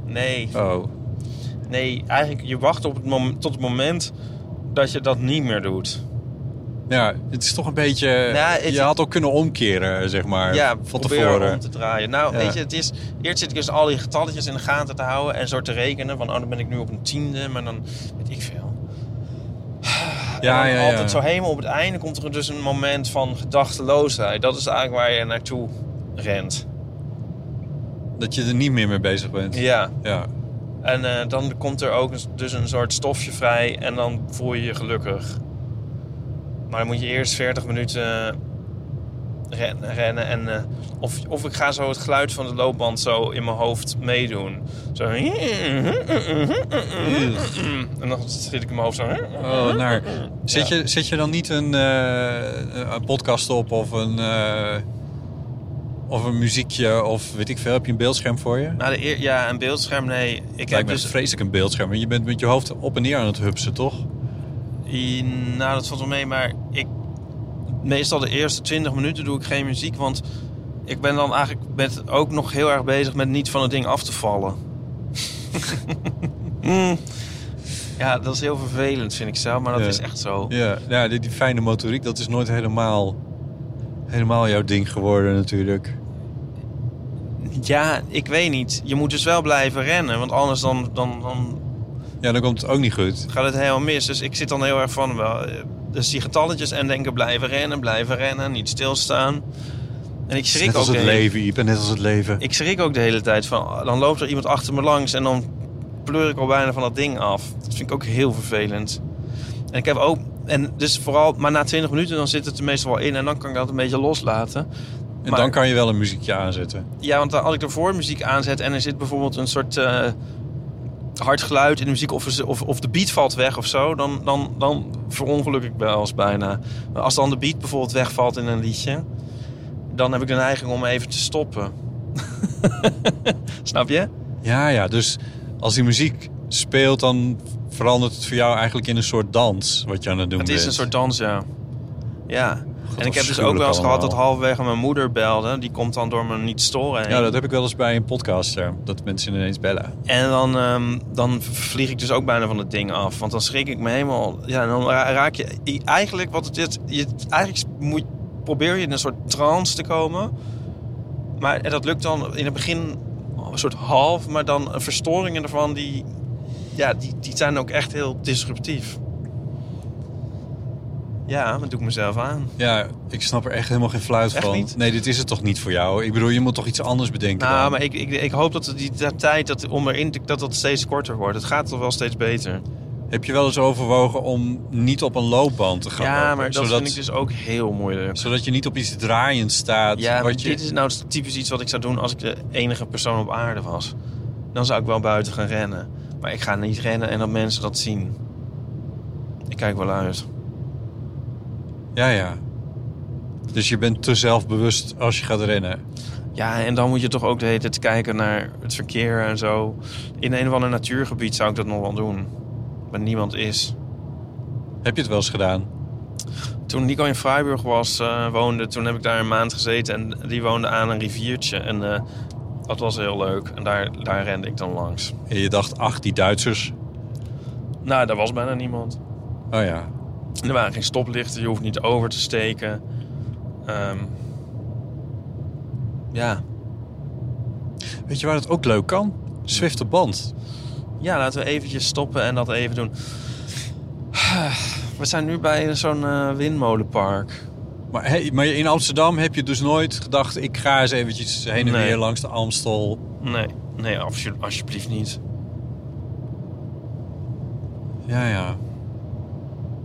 S4: Nee.
S5: Oh,
S4: Nee, eigenlijk je wacht op het mom- tot het moment dat je dat niet meer doet.
S5: ja, het is toch een beetje...
S4: Nou, het-
S5: je had ook kunnen omkeren, zeg maar,
S4: ja,
S5: van
S4: probeer
S5: tevoren.
S4: om te draaien. Nou,
S5: Ja.
S4: weet je, het is, eerst zit ik dus al die getalletjes in de gaten te houden en zo te rekenen. Van, oh, dan ben ik nu op een tiende, maar dan weet ik veel. en
S5: Ja,
S4: dan
S5: ja, ja.
S4: altijd zo helemaal op het einde komt er dus een moment van gedachteloosheid. Dat is eigenlijk waar je naartoe rent.
S5: Dat je er niet meer mee bezig bent.
S4: Ja,
S5: Ja.
S4: en eh, dan komt er ook een- dus een soort stofje vrij en dan voel je je gelukkig. Maar dan moet je eerst 40 minuten ren- rennen. En, eh, of, of ik ga zo het geluid van de loopband zo in mijn hoofd meedoen. Zo. En dan schiet ik in mijn hoofd zo.
S5: Oh, naar. Zet, je, zet je dan niet een, eh, een podcast op of een, eh, of een muziekje of weet ik veel? Heb je een beeldscherm voor je?
S4: Nou, de eer- ja, een beeldscherm, nee. Ik heb
S5: Lijkt me
S4: dus
S5: dus vreselijk een beeldscherm. want Je bent met je hoofd op en neer aan het hupsen, toch?
S4: I- Nou, dat valt wel mee, maar ik... Meestal de eerste 20 minuten doe ik geen muziek, want... Ik ben dan eigenlijk met, ook nog heel erg bezig met niet van het ding af te vallen. Mm. Ja, dat is heel vervelend, vind ik zelf, maar dat
S5: Ja.
S4: is echt zo.
S5: Ja, ja die, die fijne motoriek, dat is nooit helemaal, helemaal jouw ding geworden natuurlijk.
S4: Ja, ik weet niet. Je moet dus wel blijven rennen, want anders dan, dan, dan
S5: Ja, dan komt het ook niet goed.
S4: gaat het helemaal mis. Dus ik zit dan heel erg van wel. eh, Dus die getalletjes en denken blijven rennen, blijven rennen, niet stilstaan. En ik schrik
S5: Net als
S4: ook
S5: het
S4: de hele-
S5: leven, Iep, en net als het leven.
S4: Ik schrik ook de hele tijd van, dan loopt er iemand achter me langs en dan pleur ik al bijna van dat ding af. Dat vind ik ook heel vervelend. En ik heb ook, en dus vooral, maar na 20 minuten dan zit het er meestal wel in en dan kan ik dat een beetje loslaten.
S5: en
S4: maar-
S5: dan kan je wel een muziekje aanzetten.
S4: Ja, want als ik ervoor muziek aanzet en er zit bijvoorbeeld een soort eh, hard geluid in de muziek of, of, of de beat valt weg of zo, dan, dan, dan verongeluk ik wel eens bijna. Maar als dan de beat bijvoorbeeld wegvalt in een liedje, dan heb ik de neiging om even te stoppen. Snap je?
S5: Ja, ja, dus als die muziek speelt, dan verandert het voor jou eigenlijk in een soort dans wat je aan het doen
S4: Het
S5: bent.
S4: is een soort dans, ja. Ja. En ik heb dus ook
S5: afschuwelijk
S4: wel eens gehad dat
S5: allemaal.
S4: halverwege mijn moeder belde. Die komt dan door me niet storen heen.
S5: Ja, dat heb ik wel eens bij een podcaster, dat mensen ineens bellen.
S4: En dan, ehm, dan vlieg ik dus ook bijna van het ding af. Want dan schrik ik me helemaal. Ja, en dan ra- raak je i- eigenlijk wat het is. Je, eigenlijk moet, probeer je in een soort trance te komen. Maar en dat lukt dan in het begin een soort half. Maar dan eh, verstoringen ervan die, ja, die, die zijn ook echt heel disruptief. Ja, dat doe ik mezelf aan.
S5: Ja, ik snap er echt helemaal geen fluit
S4: Echt
S5: van.
S4: niet?
S5: Nee, dit is het toch niet voor jou? Ik bedoel, je moet toch iets anders bedenken
S4: Nou,
S5: dan?
S4: maar ik, ik, ik hoop dat die de tijd dat, om erin te- dat dat steeds korter wordt. Het gaat toch wel steeds beter.
S5: Heb je wel eens overwogen om niet op een loopband te gaan
S4: ja,
S5: lopen?
S4: maar dat
S5: zodat,
S4: vind ik dus ook heel moeilijk.
S5: zodat je niet op iets draaiend staat.
S4: Ja, maar
S5: wat je...
S4: nou dit is nou typisch iets wat ik zou doen als ik de enige persoon op aarde was. dan zou ik wel buiten gaan rennen. Maar ik ga niet rennen en dat mensen dat zien. Ik kijk wel uit.
S5: Ja, ja. Dus je bent te zelfbewust als je gaat rennen.
S4: Ja, en dan moet je toch ook de hele tijd kijken naar het verkeer en zo. In een of ander natuurgebied zou ik dat nog wel doen. Waar niemand is.
S5: Heb je het wel eens gedaan?
S4: Toen Nico in Freiburg was, eh, woonde, toen heb ik daar een maand gezeten. En die woonde aan een riviertje. En eh, dat was heel leuk. En daar, daar rende ik dan langs.
S5: En je dacht, ach, die Duitsers.
S4: Nou, daar was bijna niemand.
S5: Oh ja.
S4: En Er waren geen stoplichten, je hoeft niet over te steken. Ehm, ja.
S5: Weet je waar het ook leuk kan? Zwifte band.
S4: ja, laten we eventjes stoppen en dat even doen. We zijn nu bij zo'n eh, windmolenpark.
S5: Maar, hey, maar in Amsterdam heb je dus nooit gedacht... ik ga eens eventjes heen en
S4: Nee.
S5: weer langs de Amstel.
S4: Nee, nee alsje- alsjeblieft niet.
S5: Ja, ja.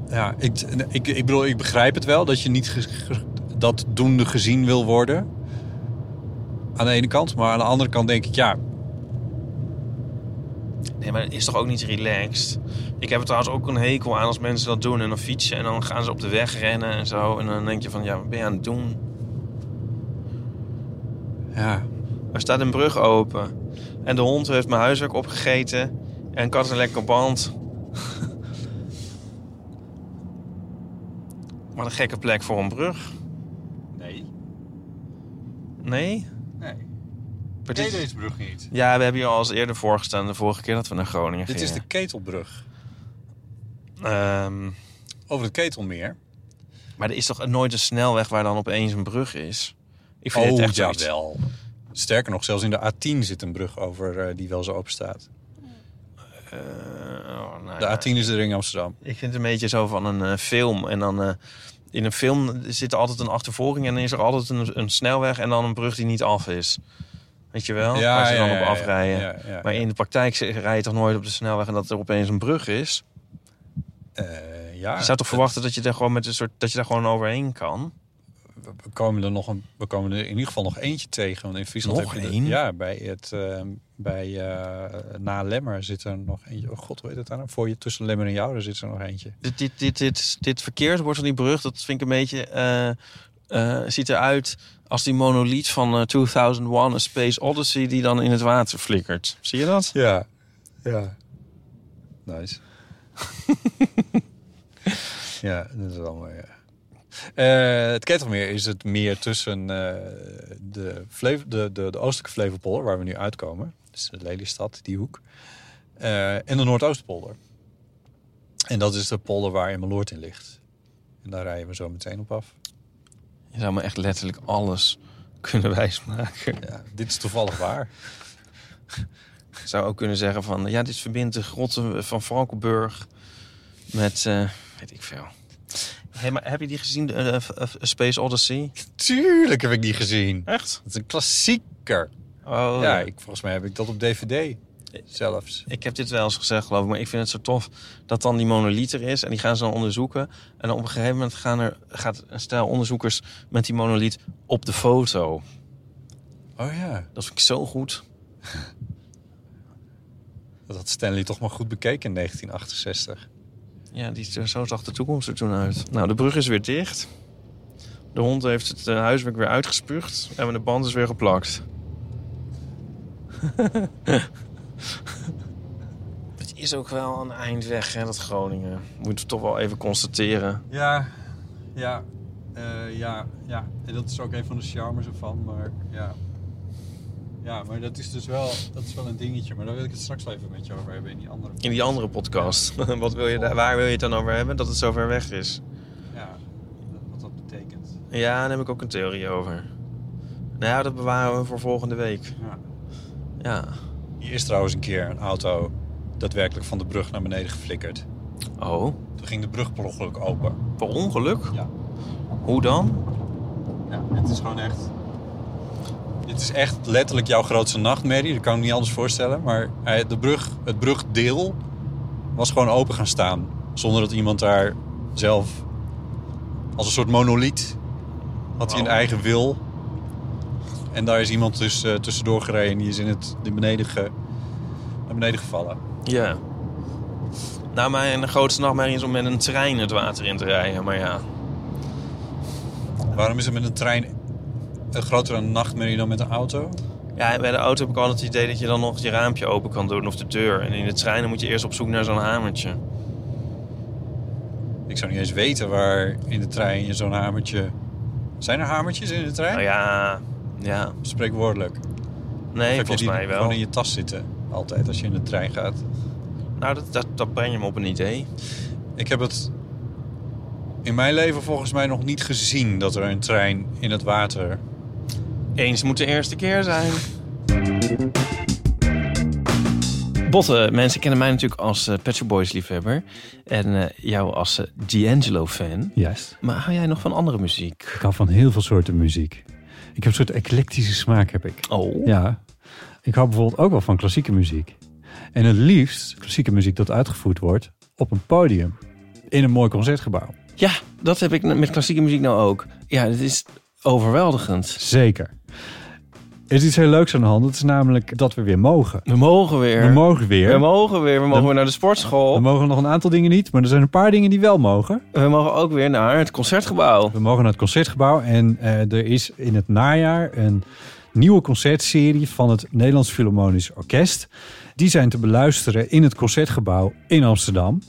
S5: Ja, ik, ik, ik bedoel, ik begrijp het wel dat je niet ge- ge- dat doende gezien wil worden. Aan de ene kant. Maar aan de andere kant denk ik, ja...
S4: Nee, maar het is toch ook niet relaxed? Ik heb er trouwens ook een hekel aan als mensen dat doen en dan fietsen en dan gaan ze op de weg rennen en zo. En dan denk je van, ja, wat ben je aan het doen?
S5: ja.
S4: Er staat een brug open. En de hond heeft mijn huiswerk opgegeten. En kat een lekker band. Wat een gekke plek voor een brug.
S5: Nee,
S4: Nee?
S5: nee.
S4: Maar dit-
S5: brug niet.
S4: Ja, we hebben hier al eens eerder voorgestaan. De vorige keer dat we naar Groningen
S5: Dit is de
S4: gingen.
S5: ketelbrug.
S4: Dit is de...
S5: Over het Ketelmeer.
S4: maar er is toch nooit een snelweg waar dan opeens een brug is? Ik
S5: Oh,
S4: vind het echt Oh, zoiets.
S5: wel. Sterker nog, zelfs in de A10 zit een brug over eh, die wel zo open staat.
S4: Eh, oh, nou
S5: De
S4: ja.
S5: A10 is de ring Amsterdam.
S4: Ik vind het een beetje zo van een eh, film. En dan eh, in een film zit er altijd een achtervolging en dan is er altijd een, een snelweg en dan een brug die niet af is. Weet je wel? Waar ze dan op afrijden.
S5: ja, ja, ja.
S4: Maar in de praktijk ze- rij je toch nooit op de snelweg en dat er opeens een brug is.
S5: Eh, ja,
S4: Je zou toch verwachten dat je daar gewoon met een soort dat je daar gewoon overheen kan.
S5: we komen er nog een, we komen er in ieder geval nog eentje tegen. Want in Friesland
S4: Nog
S5: heb je
S4: één?
S5: De, ja, bij het eh, bij eh na Lemmer zit er nog eentje. Oh god, hoe heet het daar? nou? Voor je tussen Lemmer en Jouren zit er nog eentje.
S4: Dit, dit, dit, dit, dit verkeersbord van die brug, dat vind ik een beetje eh, eh, ziet eruit als die monoliet van eh, 2001: A Space Odyssey die dan in het water flikkert. Zie je dat?
S5: Ja, ja. Nice. ja, dat is allemaal. Ja. Eh, het Ketelmeer is het meer tussen eh, de, Flevo- de, de, de oostelijke Flevopolder, waar we nu uitkomen. Dus de Lelystad, die hoek. eh, en de Noordoostpolder. En dat is de polder waar Emmeloord in ligt. En daar rijden we zo meteen op af.
S4: Je zou me echt letterlijk alles kunnen wijsmaken.
S5: Ja, dit is toevallig waar.
S4: Ik zou ook kunnen zeggen van... Ja, dit verbindt de grotten van Valkenburg met... eh, weet ik veel. Hey, maar heb je die gezien, de, eh, eh, Space Odyssey?
S5: Tuurlijk heb ik die gezien.
S4: Echt?
S5: Het is een klassieker.
S4: Oh,
S5: ja, ik, volgens mij heb ik dat op DVD zelfs.
S4: Ik heb dit wel eens gezegd, geloof ik. Maar ik vind het zo tof dat dan die monoliet er is. En die gaan ze dan onderzoeken. En dan op een gegeven moment gaan er, gaat een stel onderzoekers met die monoliet op de foto.
S5: Oh ja.
S4: Dat vind ik zo goed.
S5: Dat had Stanley toch maar goed bekeken in 1968.
S4: Ja, die, zo zag de toekomst er toen uit. Nou, de brug is weer dicht. De hond heeft het eh, huiswerk weer uitgespuugd. En de band is weer geplakt. het is ook wel een eindweg, hè, dat Groningen. Moeten we toch wel even constateren.
S5: Ja, ja, eh, ja, ja. En dat is ook een van de charmes ervan, maar ja. Ja, maar dat is dus wel, dat is wel een dingetje. Maar daar wil ik het straks wel even met je over hebben in die andere.
S4: In die andere podcast. Wat wil je daar, waar wil je het dan over hebben? Dat het zo ver weg is.
S5: Ja, wat dat betekent.
S4: Ja, daar heb ik ook een theorie over. Nou ja, dat bewaren we voor volgende week.
S5: Ja.
S4: Ja.
S5: Hier is trouwens een keer een auto daadwerkelijk van de brug naar beneden geflikkerd.
S4: Oh,
S5: Toen ging de brug per ongeluk open.
S4: per ongeluk?
S5: Ja.
S4: Hoe dan?
S5: Ja, het is gewoon echt. Dit is echt letterlijk jouw grootste nachtmerrie. Dat kan ik me niet anders voorstellen. Maar hij- de brug, het brugdeel was gewoon open gaan staan. Zonder dat iemand daar zelf. Als een soort monoliet. had hij een
S4: Wauw.
S5: eigen wil. En daar is iemand dus eh, tussendoor gereden. Die is in het die beneden ge, naar beneden gevallen.
S4: Ja. Nou, mijn grootste nachtmerrie is om met een trein het water in te rijden. Maar ja,
S5: Waarom is het met een trein een grotere nachtmerrie dan met een auto?
S4: Ja, bij de auto heb ik altijd het idee dat je dan nog je raampje open kan doen of de deur. En in de treinen moet je eerst op zoek naar zo'n hamertje.
S5: Ik zou niet eens weten waar in de trein je zo'n hamertje... Zijn er hamertjes in de trein?
S4: Nou ja, ja.
S5: Spreekwoordelijk.
S4: Nee,
S5: Of heb je
S4: volgens
S5: die
S4: mij wel.
S5: gewoon in je tas zitten. Altijd als je in de trein gaat.
S4: Nou, dat, dat, dat breng je me op een idee.
S5: Ik heb het in mijn leven volgens mij nog niet gezien dat er een trein in het water...
S4: Eens moet de eerste keer zijn. Botten, mensen kennen mij natuurlijk als eh, Pet Shop Boys liefhebber. En eh, jou als eh, D'Angelo fan.
S6: Juist.
S4: Maar hou jij nog van andere muziek?
S6: Ik hou van heel veel soorten muziek. Ik heb een soort eclectische smaak, heb ik.
S4: Oh.
S6: Ja. Ik hou bijvoorbeeld ook wel van klassieke muziek. En het liefst klassieke muziek dat uitgevoerd wordt op een podium. In een mooi concertgebouw.
S4: Ja, dat heb ik met klassieke muziek nou ook. Ja, het is overweldigend.
S6: Zeker. Er is iets heel leuks aan de hand. Dat is namelijk dat we weer mogen.
S4: We mogen weer.
S6: We mogen
S4: We
S6: weer.
S4: mogen weer. We mogen
S6: Dan-
S4: weer naar de
S6: We
S4: sportschool.
S6: mogen nog een aantal dingen niet, maar er zijn een paar dingen die wel mogen.
S4: We mogen ook weer naar het concertgebouw.
S6: We mogen naar het concertgebouw en eh, er is in het najaar een nieuwe concertserie van het Nederlands Philharmonisch Orkest. Die zijn te beluisteren in het concertgebouw in Amsterdam.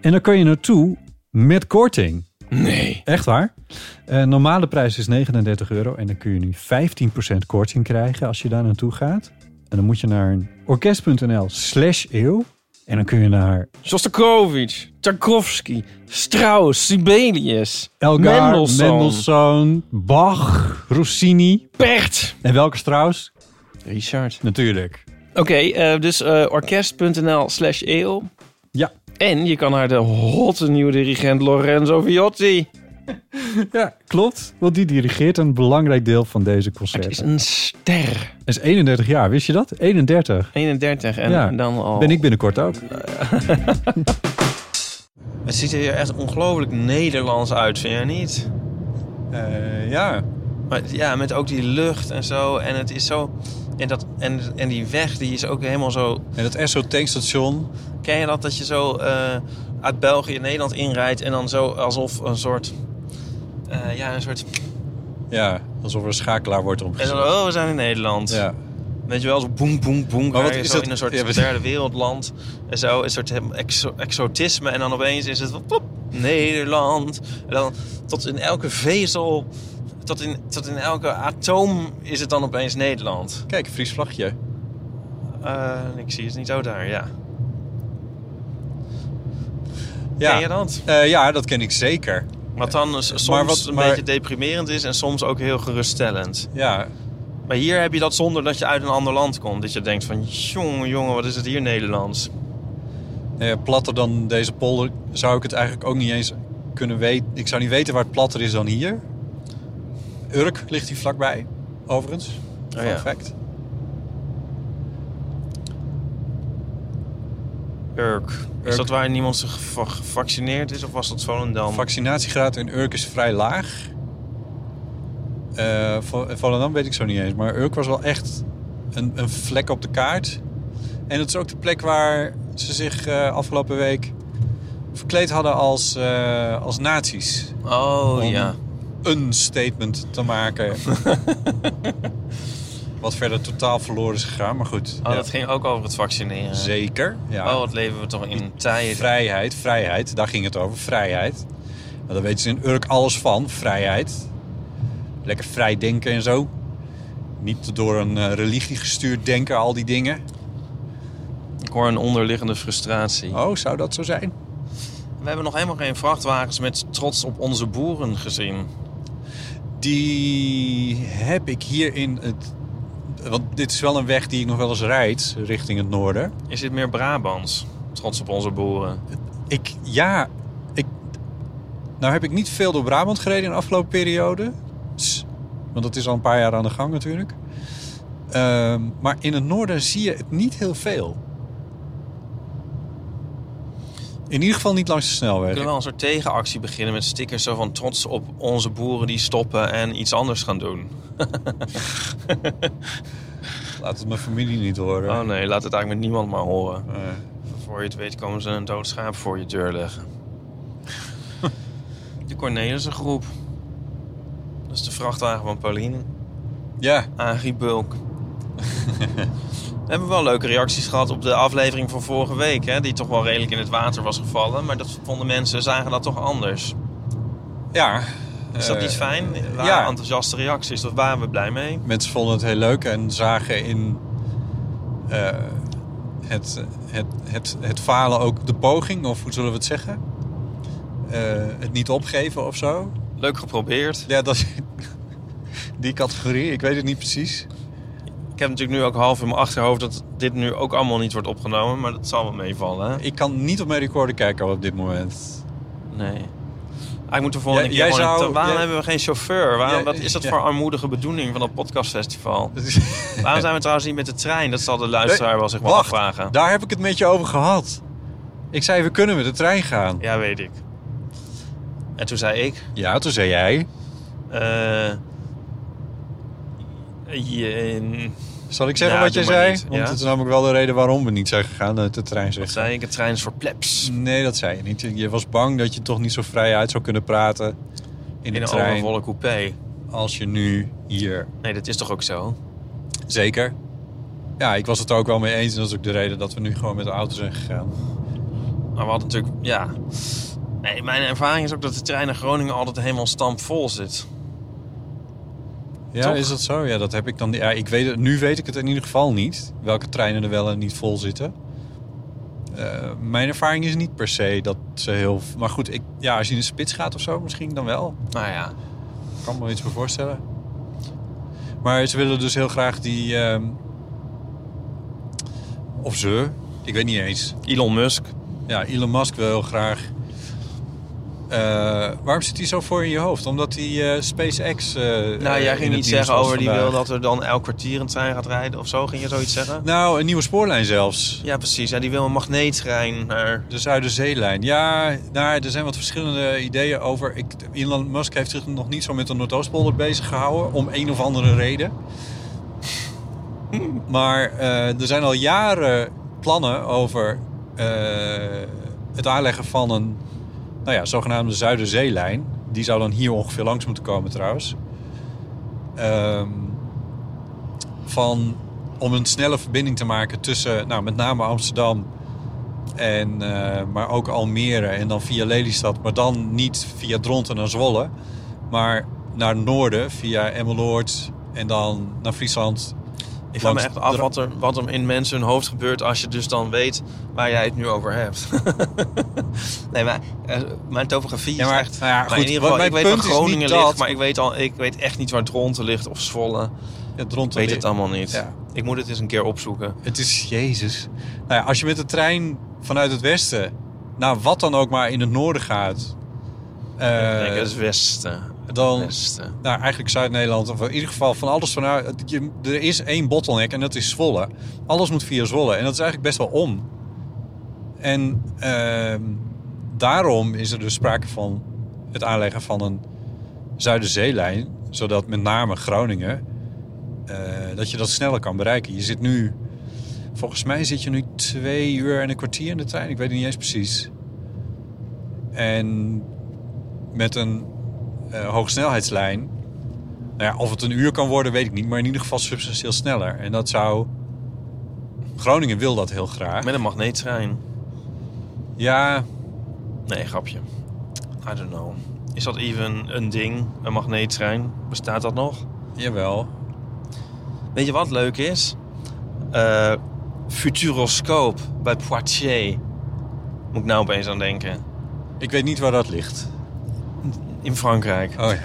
S6: En daar kun je naartoe met korting.
S4: Nee.
S6: Echt waar. Eh, normale prijs is 39 euro en dan kun je nu 15% korting krijgen als je daar naartoe gaat. En dan moet je naar orkest.nl slash eeuw. En dan kun je naar
S4: Shostakovich, Tchaikovsky, Strauss, Sibelius,
S6: Elgar,
S4: Mendelssohn,
S6: Mendelssohn, Bach, Rossini.
S4: Pert.
S6: En welke Strauss?
S4: Richard.
S6: Natuurlijk.
S4: Oké, eh, dus eh, orkest.nl slash eeuw.
S6: Ja.
S4: En je kan naar de hotte nieuwe dirigent Lorenzo Viotti.
S6: Ja, klopt. Want die dirigeert een belangrijk deel van deze
S4: Het is
S6: concerten.
S4: een ster.
S6: Hij is 31 jaar, wist je dat? 31.
S4: 31 en
S6: Ja.
S4: dan al...
S6: Ben ik binnenkort ook.
S4: Het ziet er hier echt ongelooflijk Nederlands uit, vind je niet?
S5: Eh, ja,
S4: Maar ja, met ook die lucht en zo. En het is zo. En, dat, en, en die weg, die is ook helemaal zo.
S5: en dat Esso tankstation...
S4: Ken je dat? Dat je zo eh, uit België Nederland inrijdt. En dan zo alsof een soort. eh, ja, een soort.
S5: Ja, alsof er een schakelaar wordt
S4: En dan,
S5: omgezet.
S4: oh, we zijn in Nederland.
S5: Ja.
S4: Weet je wel, zo boem, boem, boem.
S5: Maar wat
S4: Maar
S5: is
S4: zo
S5: dat-
S4: in een soort
S5: ja, wat-
S4: derde wereldland. En zo, een soort hem- exo- exotisme. En dan opeens is het plop, Nederland. En dan tot in elke vezel, tot in, tot in elke atoom is het dan opeens Nederland.
S5: Kijk, Fries vlagje.
S4: Eh, ik zie het niet zo daar, ja.
S5: Ja.
S4: Ken je dat?
S5: Eh, ja, dat ken ik zeker.
S4: Wat dan is soms
S5: Maar wat-
S4: een
S5: maar-
S4: beetje deprimerend is en soms ook heel geruststellend.
S5: Ja,
S4: Maar hier heb je dat zonder dat je uit een ander land komt. Dat je denkt van, jongen, jongen, wat is het hier Nederlands?
S5: eh, platter dan deze polder zou ik het eigenlijk ook niet eens kunnen weten. Ik zou niet weten waar het platter is dan hier. Urk ligt hier vlakbij, overigens.
S4: Oh, ja.
S5: Perfect.
S4: Urk. Is
S5: Urk.
S4: dat waar niemand zich geva- gevaccineerd is of was dat Volendam?
S5: Vaccinatiegraad in Urk is vrij laag. Eh, Vo- Volendam weet ik zo niet eens. Maar Urk was wel echt een, een vlek op de kaart. En het is ook de plek waar ze zich eh, afgelopen week verkleed hadden als, eh, als nazi's.
S4: Oh
S5: Om
S4: ja.
S5: een statement te maken. Wat verder totaal verloren is gegaan. Maar goed,
S4: Oh,
S5: ja.
S4: dat ging ook over het vaccineren.
S5: zeker. Ja.
S4: Oh, wat leven we toch in tijden.
S5: Vrijheid, vrijheid. Daar ging het over, vrijheid. Nou, daar weten ze in Urk alles van, vrijheid. Lekker vrij denken en zo. Niet door een eh, religie gestuurd denken, al die dingen.
S4: Ik hoor een onderliggende frustratie.
S5: Oh, zou dat zo zijn?
S4: We hebben nog helemaal geen vrachtwagens met trots op onze boeren gezien.
S5: Die heb ik hier in het... Want dit is wel een weg die ik nog wel eens rijd, richting het noorden.
S4: Is dit meer Brabants? Trots op onze boeren.
S5: Ik, ja, ik... Nou heb ik niet veel door Brabant gereden in de afgelopen periode. S- Want dat is al een paar jaar aan de gang natuurlijk. Ehm, maar in het noorden zie je het niet heel veel. In ieder geval niet langs de
S4: We
S5: snelweg.
S4: kunnen wel een soort tegenactie beginnen met stickers zo van trots op onze boeren die stoppen en iets anders gaan doen.
S5: Laat het mijn familie niet horen.
S4: Oh nee, laat het eigenlijk met niemand maar horen.
S5: Eh,
S4: Voor je het weet komen ze een dood schaap voor je deur leggen. de Cornelissen groep. Dat is de vrachtwagen van Pauline.
S5: ja,
S4: Agri Bulk. We hebben wel leuke reacties gehad op de aflevering van vorige week. Hè, die toch wel redelijk in het water was gevallen. Maar dat vonden mensen, zagen dat toch anders.
S5: ja.
S4: Is dat
S5: Eh,
S4: iets fijn? Waren
S5: ja.
S4: enthousiaste reacties, daar waren we blij mee.
S5: Mensen vonden het heel leuk en zagen in eh, het, het, het, het falen ook de poging, of hoe zullen we het zeggen? Eh, het niet opgeven of zo.
S4: Leuk geprobeerd.
S5: Ja, dat is die categorie. Ik weet het niet precies.
S4: Ik heb natuurlijk nu ook half in mijn achterhoofd dat dit nu ook allemaal niet wordt opgenomen. Maar dat zal wel meevallen. Hè?
S5: Ik kan niet op mijn recorder kijken op dit moment.
S4: Nee. Ah, ik moet de volgende
S5: Jij-
S4: keer
S5: jij
S4: gewoon...
S5: zou-
S4: waarom
S5: jij-
S4: hebben we geen chauffeur? Waarom,
S5: Jij-
S4: wat is dat
S5: ja.
S4: voor armoedige bedoeling van dat podcastfestival?
S5: Dat is-
S4: waarom zijn we trouwens niet met de trein? Dat zal de luisteraar wel zich wel
S5: Wacht,
S4: afvragen.
S5: Daar heb ik het met je over gehad. Ik zei, we kunnen met de trein gaan.
S4: Ja, weet ik. En toen zei ik...
S5: Ja, toen zei jij.
S4: eh, je-
S5: Zal ik zeggen
S4: Ja,
S5: wat je
S4: Nou, doe maar
S5: zei?
S4: niet.
S5: Want
S4: Ja.
S5: dat is namelijk wel de reden waarom we niet zijn gegaan naar de trein.
S4: wat
S5: Zeggen.
S4: zei ik? Het trein is voor plebs.
S5: Nee, dat zei je niet. Je was bang dat je toch niet zo vrij uit zou kunnen praten in
S4: In
S5: de
S4: een
S5: trein
S4: overvolle coupé.
S5: als je nu hier.
S4: Nee, dat is toch ook zo?
S5: Zeker. Ja, ik was het er ook wel mee eens. En dat is ook de reden dat we nu gewoon met de auto zijn gegaan.
S4: Maar we hadden natuurlijk... Ja. Nee, mijn ervaring is ook dat de trein naar Groningen altijd helemaal stampvol zit.
S5: Ja,
S4: Toch?
S5: is dat zo? Ja, dat heb ik dan. Ja, ik weet het, nu weet ik het in ieder geval niet. Welke treinen er wel en niet vol zitten. Eh, mijn ervaring is niet per se dat ze heel. Maar goed, ik, ja, als je in de spits gaat of zo, misschien dan wel.
S4: Nou ja,
S5: Ik kan me wel iets voor voorstellen. Maar ze willen dus heel graag die. ehm, of ze, ik weet niet eens.
S4: Elon Musk.
S5: Ja, Elon Musk wil heel graag. eh, waarom zit hij zo voor in je hoofd? Omdat hij eh, SpaceX. eh,
S4: Nou,
S5: eh,
S4: jij
S5: in
S4: ging
S5: het
S4: niet
S5: nieuws
S4: zeggen
S5: was
S4: over die
S5: vandaag.
S4: wil dat er dan elk kwartier een trein gaat rijden of zo. Ging je zoiets zeggen?
S5: Nou, een nieuwe spoorlijn zelfs.
S4: Ja, precies. Ja, die wil een magneettrein naar...
S5: De Zuiderzeelijn. Ja, daar, er zijn wat verschillende ideeën over. Ik, Elon Musk heeft zich nog niet zo met de Noordoostpolder bezig gehouden. Om een of andere reden. Maar eh, er zijn al jaren plannen over eh, het aanleggen van een nou ja, zogenaamde Zuiderzeelijn. Die zou dan hier ongeveer langs moeten komen trouwens. Ehm, van, om een snelle verbinding te maken tussen nou, met name Amsterdam en, eh, maar ook Almere en dan via Lelystad. Maar dan niet via Dronten naar Zwolle. Maar naar het noorden via Emmeloord en dan naar Friesland.
S4: Ik vraag me
S5: Langs
S4: echt af
S5: de-
S4: wat er, wat er in mensen hun hoofd gebeurt als je dus dan weet waar jij het nu over hebt. nee, maar eh, mijn topografie
S5: Ja, maar-
S4: is echt...
S5: nou ja,
S4: maar
S5: goed,
S4: in ieder
S5: wat
S4: geval,
S5: mijn
S4: ik weet waar
S5: punt is niet
S4: Groningen
S5: dat-
S4: ligt, maar ik weet, al, ik weet echt niet waar Dronten ligt of Zwolle.
S5: Ja, Dronten
S4: Ik weet
S5: ligt-
S4: het allemaal niet.
S5: Ja. Eh,
S4: Ik moet het eens een keer opzoeken.
S5: Het is Jezus. Nou ja, als je met de trein vanuit het westen naar wat dan ook maar in het noorden gaat. eh,
S4: ik denk, het is Westen. Het
S5: dan-
S4: Westen.
S5: nou, eigenlijk Zuid-Nederland, of in ieder geval van alles vanuit. je- Er is één bottleneck en dat is Zwolle. Alles moet via Zwolle en dat is eigenlijk best wel om. En ehm, daarom is er dus sprake van het aanleggen van een Zuiderzeelijn, zodat met name Groningen eh, dat je dat sneller kan bereiken. Je zit nu, volgens mij zit je nu twee uur en een kwartier in de trein. Ik weet het niet eens precies. En met een eh, hoogsnelheidslijn. Nou ja, of het een uur kan worden, weet ik niet. Maar in ieder geval substantieel sneller. En dat zou. Groningen wil dat heel graag.
S4: Met een magneettrein.
S5: Ja,
S4: Nee, grapje. I don't know. Is dat even een ding? Een magneettrein? Bestaat dat nog?
S5: jawel.
S4: Weet je wat leuk is? Eh, Futuroscoop bij Poitiers. Moet ik nou opeens aan denken.
S5: Ik weet niet waar dat ligt.
S4: In Frankrijk.
S5: Oh ja.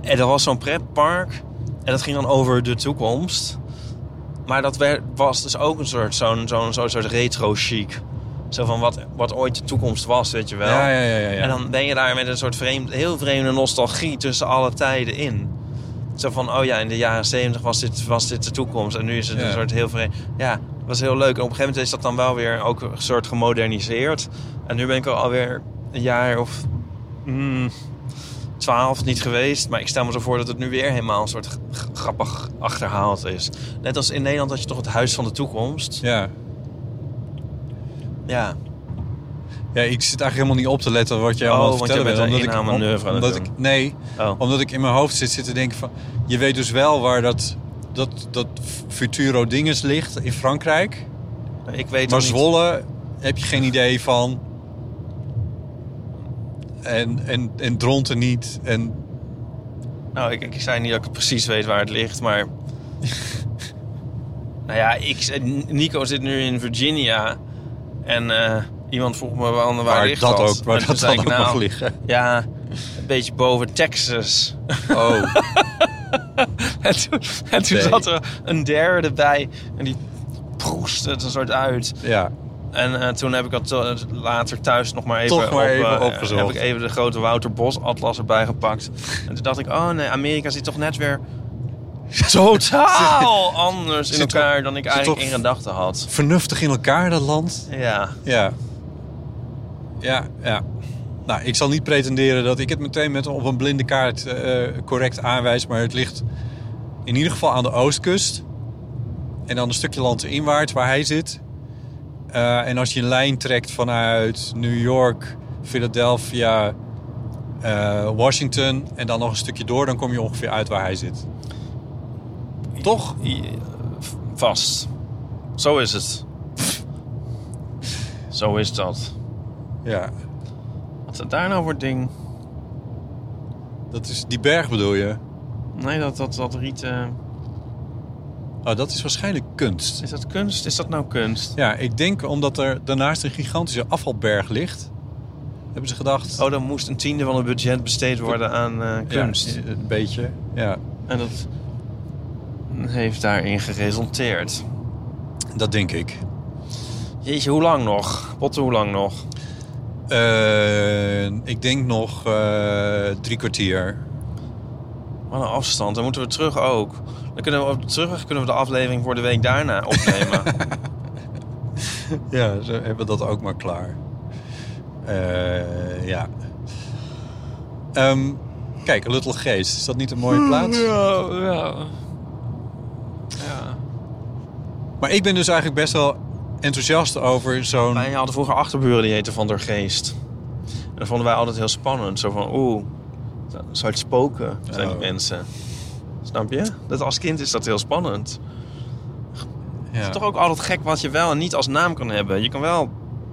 S4: En er was zo'n pretpark. En dat ging dan over de toekomst. Maar dat werd, was dus ook een soort, zo'n, zo'n, zo'n soort retro-chic. Zo van wat, wat ooit de toekomst was, weet je wel.
S5: Ja, ja, ja, ja, ja.
S4: En dan ben je daar met een soort vreemd, heel vreemde nostalgie tussen alle tijden in. Zo van, oh ja, in de jaren zeventig was dit, was dit de toekomst. En nu is het
S5: Ja.
S4: een soort heel vreemd... Ja, het was heel leuk. En op een gegeven moment is dat dan wel weer ook een soort gemoderniseerd. En nu ben ik er alweer een jaar of... mm, 12 niet geweest. Maar ik stel me zo voor dat het nu weer helemaal een soort g- g- grappig achterhaald is. Net als in Nederland had je toch het Huis van de Toekomst.
S5: Ja.
S4: Ja.
S5: ja, ik zit eigenlijk helemaal niet op te letten wat jij allemaal
S4: Oh,
S5: aan het
S4: want jij
S5: vertellen
S4: bent een
S5: bent, omdat ik-
S4: inhaalmanoeuvre aan het
S5: omdat
S4: doen.
S5: ik, Nee,
S4: Oh.
S5: omdat ik in mijn hoofd zit, zit te denken van... Je weet dus wel waar dat, dat, dat Futuro Dinges ligt in Frankrijk.
S4: Ik weet
S5: Maar
S4: ook niet-
S5: Zwolle heb je geen idee van. En, en, en Dronten niet. En
S4: Nou, ik, ik zei niet dat ik precies weet waar het ligt, maar... nou ja, ik, Nico zit nu in Virginia. En eh, iemand vroeg me waar, waar,
S5: waar
S4: ligt
S5: dat,
S4: dat?
S5: ook,
S4: En
S5: waar
S4: toen
S5: dat
S4: zei
S5: dan ook
S4: ik, nou,
S5: mag liggen.
S4: Ja, een beetje boven Texas.
S5: Oh,
S4: en toen, en toen
S5: Nee.
S4: zat er een derde bij en die proestte het een soort uit.
S5: ja.
S4: En eh, toen heb ik dat eh, later thuis nog maar even,
S5: Toch maar even
S4: eh,
S5: opgezocht.
S4: Heb ik even de grote Wouter Bos atlas erbij gepakt. En toen dacht ik, oh nee, Amerika zit toch net weer totaal anders in
S5: Oh! Zit
S4: elkaar
S5: toch-
S4: dan ik
S5: zit
S4: eigenlijk
S5: toch-
S4: in gedachten had.
S5: Vernuftig in elkaar, dat land.
S4: Ja,
S5: Ja. Ja, ja. Nou, ik zal niet pretenderen dat ik het meteen met op een blinde kaart eh, correct aanwijs. Maar het ligt in ieder geval aan de oostkust. En dan een stukje land inwaarts waar hij zit. Eh, en als je een lijn trekt vanuit New York, Philadelphia, eh, Washington... en dan nog een stukje door, dan kom je ongeveer uit waar hij zit. Toch?
S4: i- v- vast. Zo is het. Zo is dat.
S5: Ja.
S4: Wat is dat daar nou voor ding?
S5: Dat is die berg bedoel je?
S4: Nee, dat, dat, dat riet... eh,
S5: Oh, dat is waarschijnlijk kunst.
S4: is dat kunst? Is dat nou kunst?
S5: Ja, ik denk omdat er daarnaast een gigantische afvalberg ligt, hebben ze gedacht.
S4: Oh, dan moest een tiende van het budget besteed worden aan eh,
S5: ja,
S4: kunst.
S5: een beetje. Ja,
S4: En dat heeft daarin geresulteerd.
S5: dat denk ik.
S4: Jeetje, hoe lang nog? Potten, hoe lang nog?
S5: Eh, ik denk nog eh, drie kwartier.
S4: Wat een afstand. Dan moeten we terug ook. Dan kunnen we op de terugweg kunnen we de aflevering voor de week daarna opnemen.
S5: Ja, ze hebben dat ook maar klaar. Eh, ja. Ehm, kijk, Luttel Geest, is dat niet een mooie plaats?
S4: ja, ja. ja.
S5: Maar ik ben dus eigenlijk best wel enthousiast over zo'n.
S4: Wij hadden vroeger achterburen die heten Van der Geest. En dat vonden wij altijd heel spannend. Zo van, oeh, zou het spoken, zijn die
S5: Oh.
S4: mensen. Snap je? Dat als kind is dat heel spannend.
S5: Ja.
S4: Het is toch ook altijd gek wat je wel en niet als naam kan hebben. Je kan wel,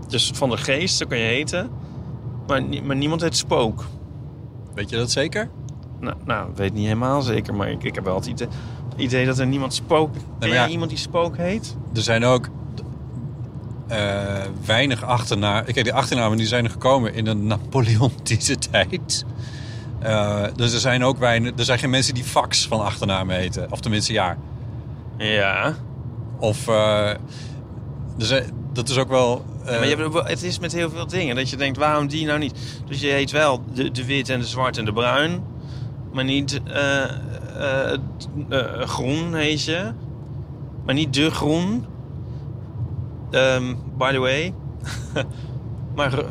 S4: dus van de geest, zo kan je heten. Maar, nie- maar niemand heet spook.
S5: Weet je dat zeker?
S4: Nou, nou, weet niet helemaal zeker, maar ik, ik heb wel het idee, idee dat er niemand spook... Ken
S5: ja.
S4: jij iemand die spook heet?
S5: Er zijn ook eh, weinig achternamen. Kijk, die achternamen die zijn er gekomen in een Napoleontische tijd. Eh, dus er zijn ook weinig. Er zijn geen mensen die fax van achternamen heten. Of tenminste, ja.
S4: Ja.
S5: Of. eh, er zijn- dat is ook wel. eh,
S4: maar je hebt, ook wel- het is met heel veel dingen dat je denkt, waarom die nou niet? Dus je heet wel de, de wit en de zwart en de bruin. Maar niet eh, eh, t- eh, groen heet je. Maar niet de groen. Ehm, by the way. maar ro-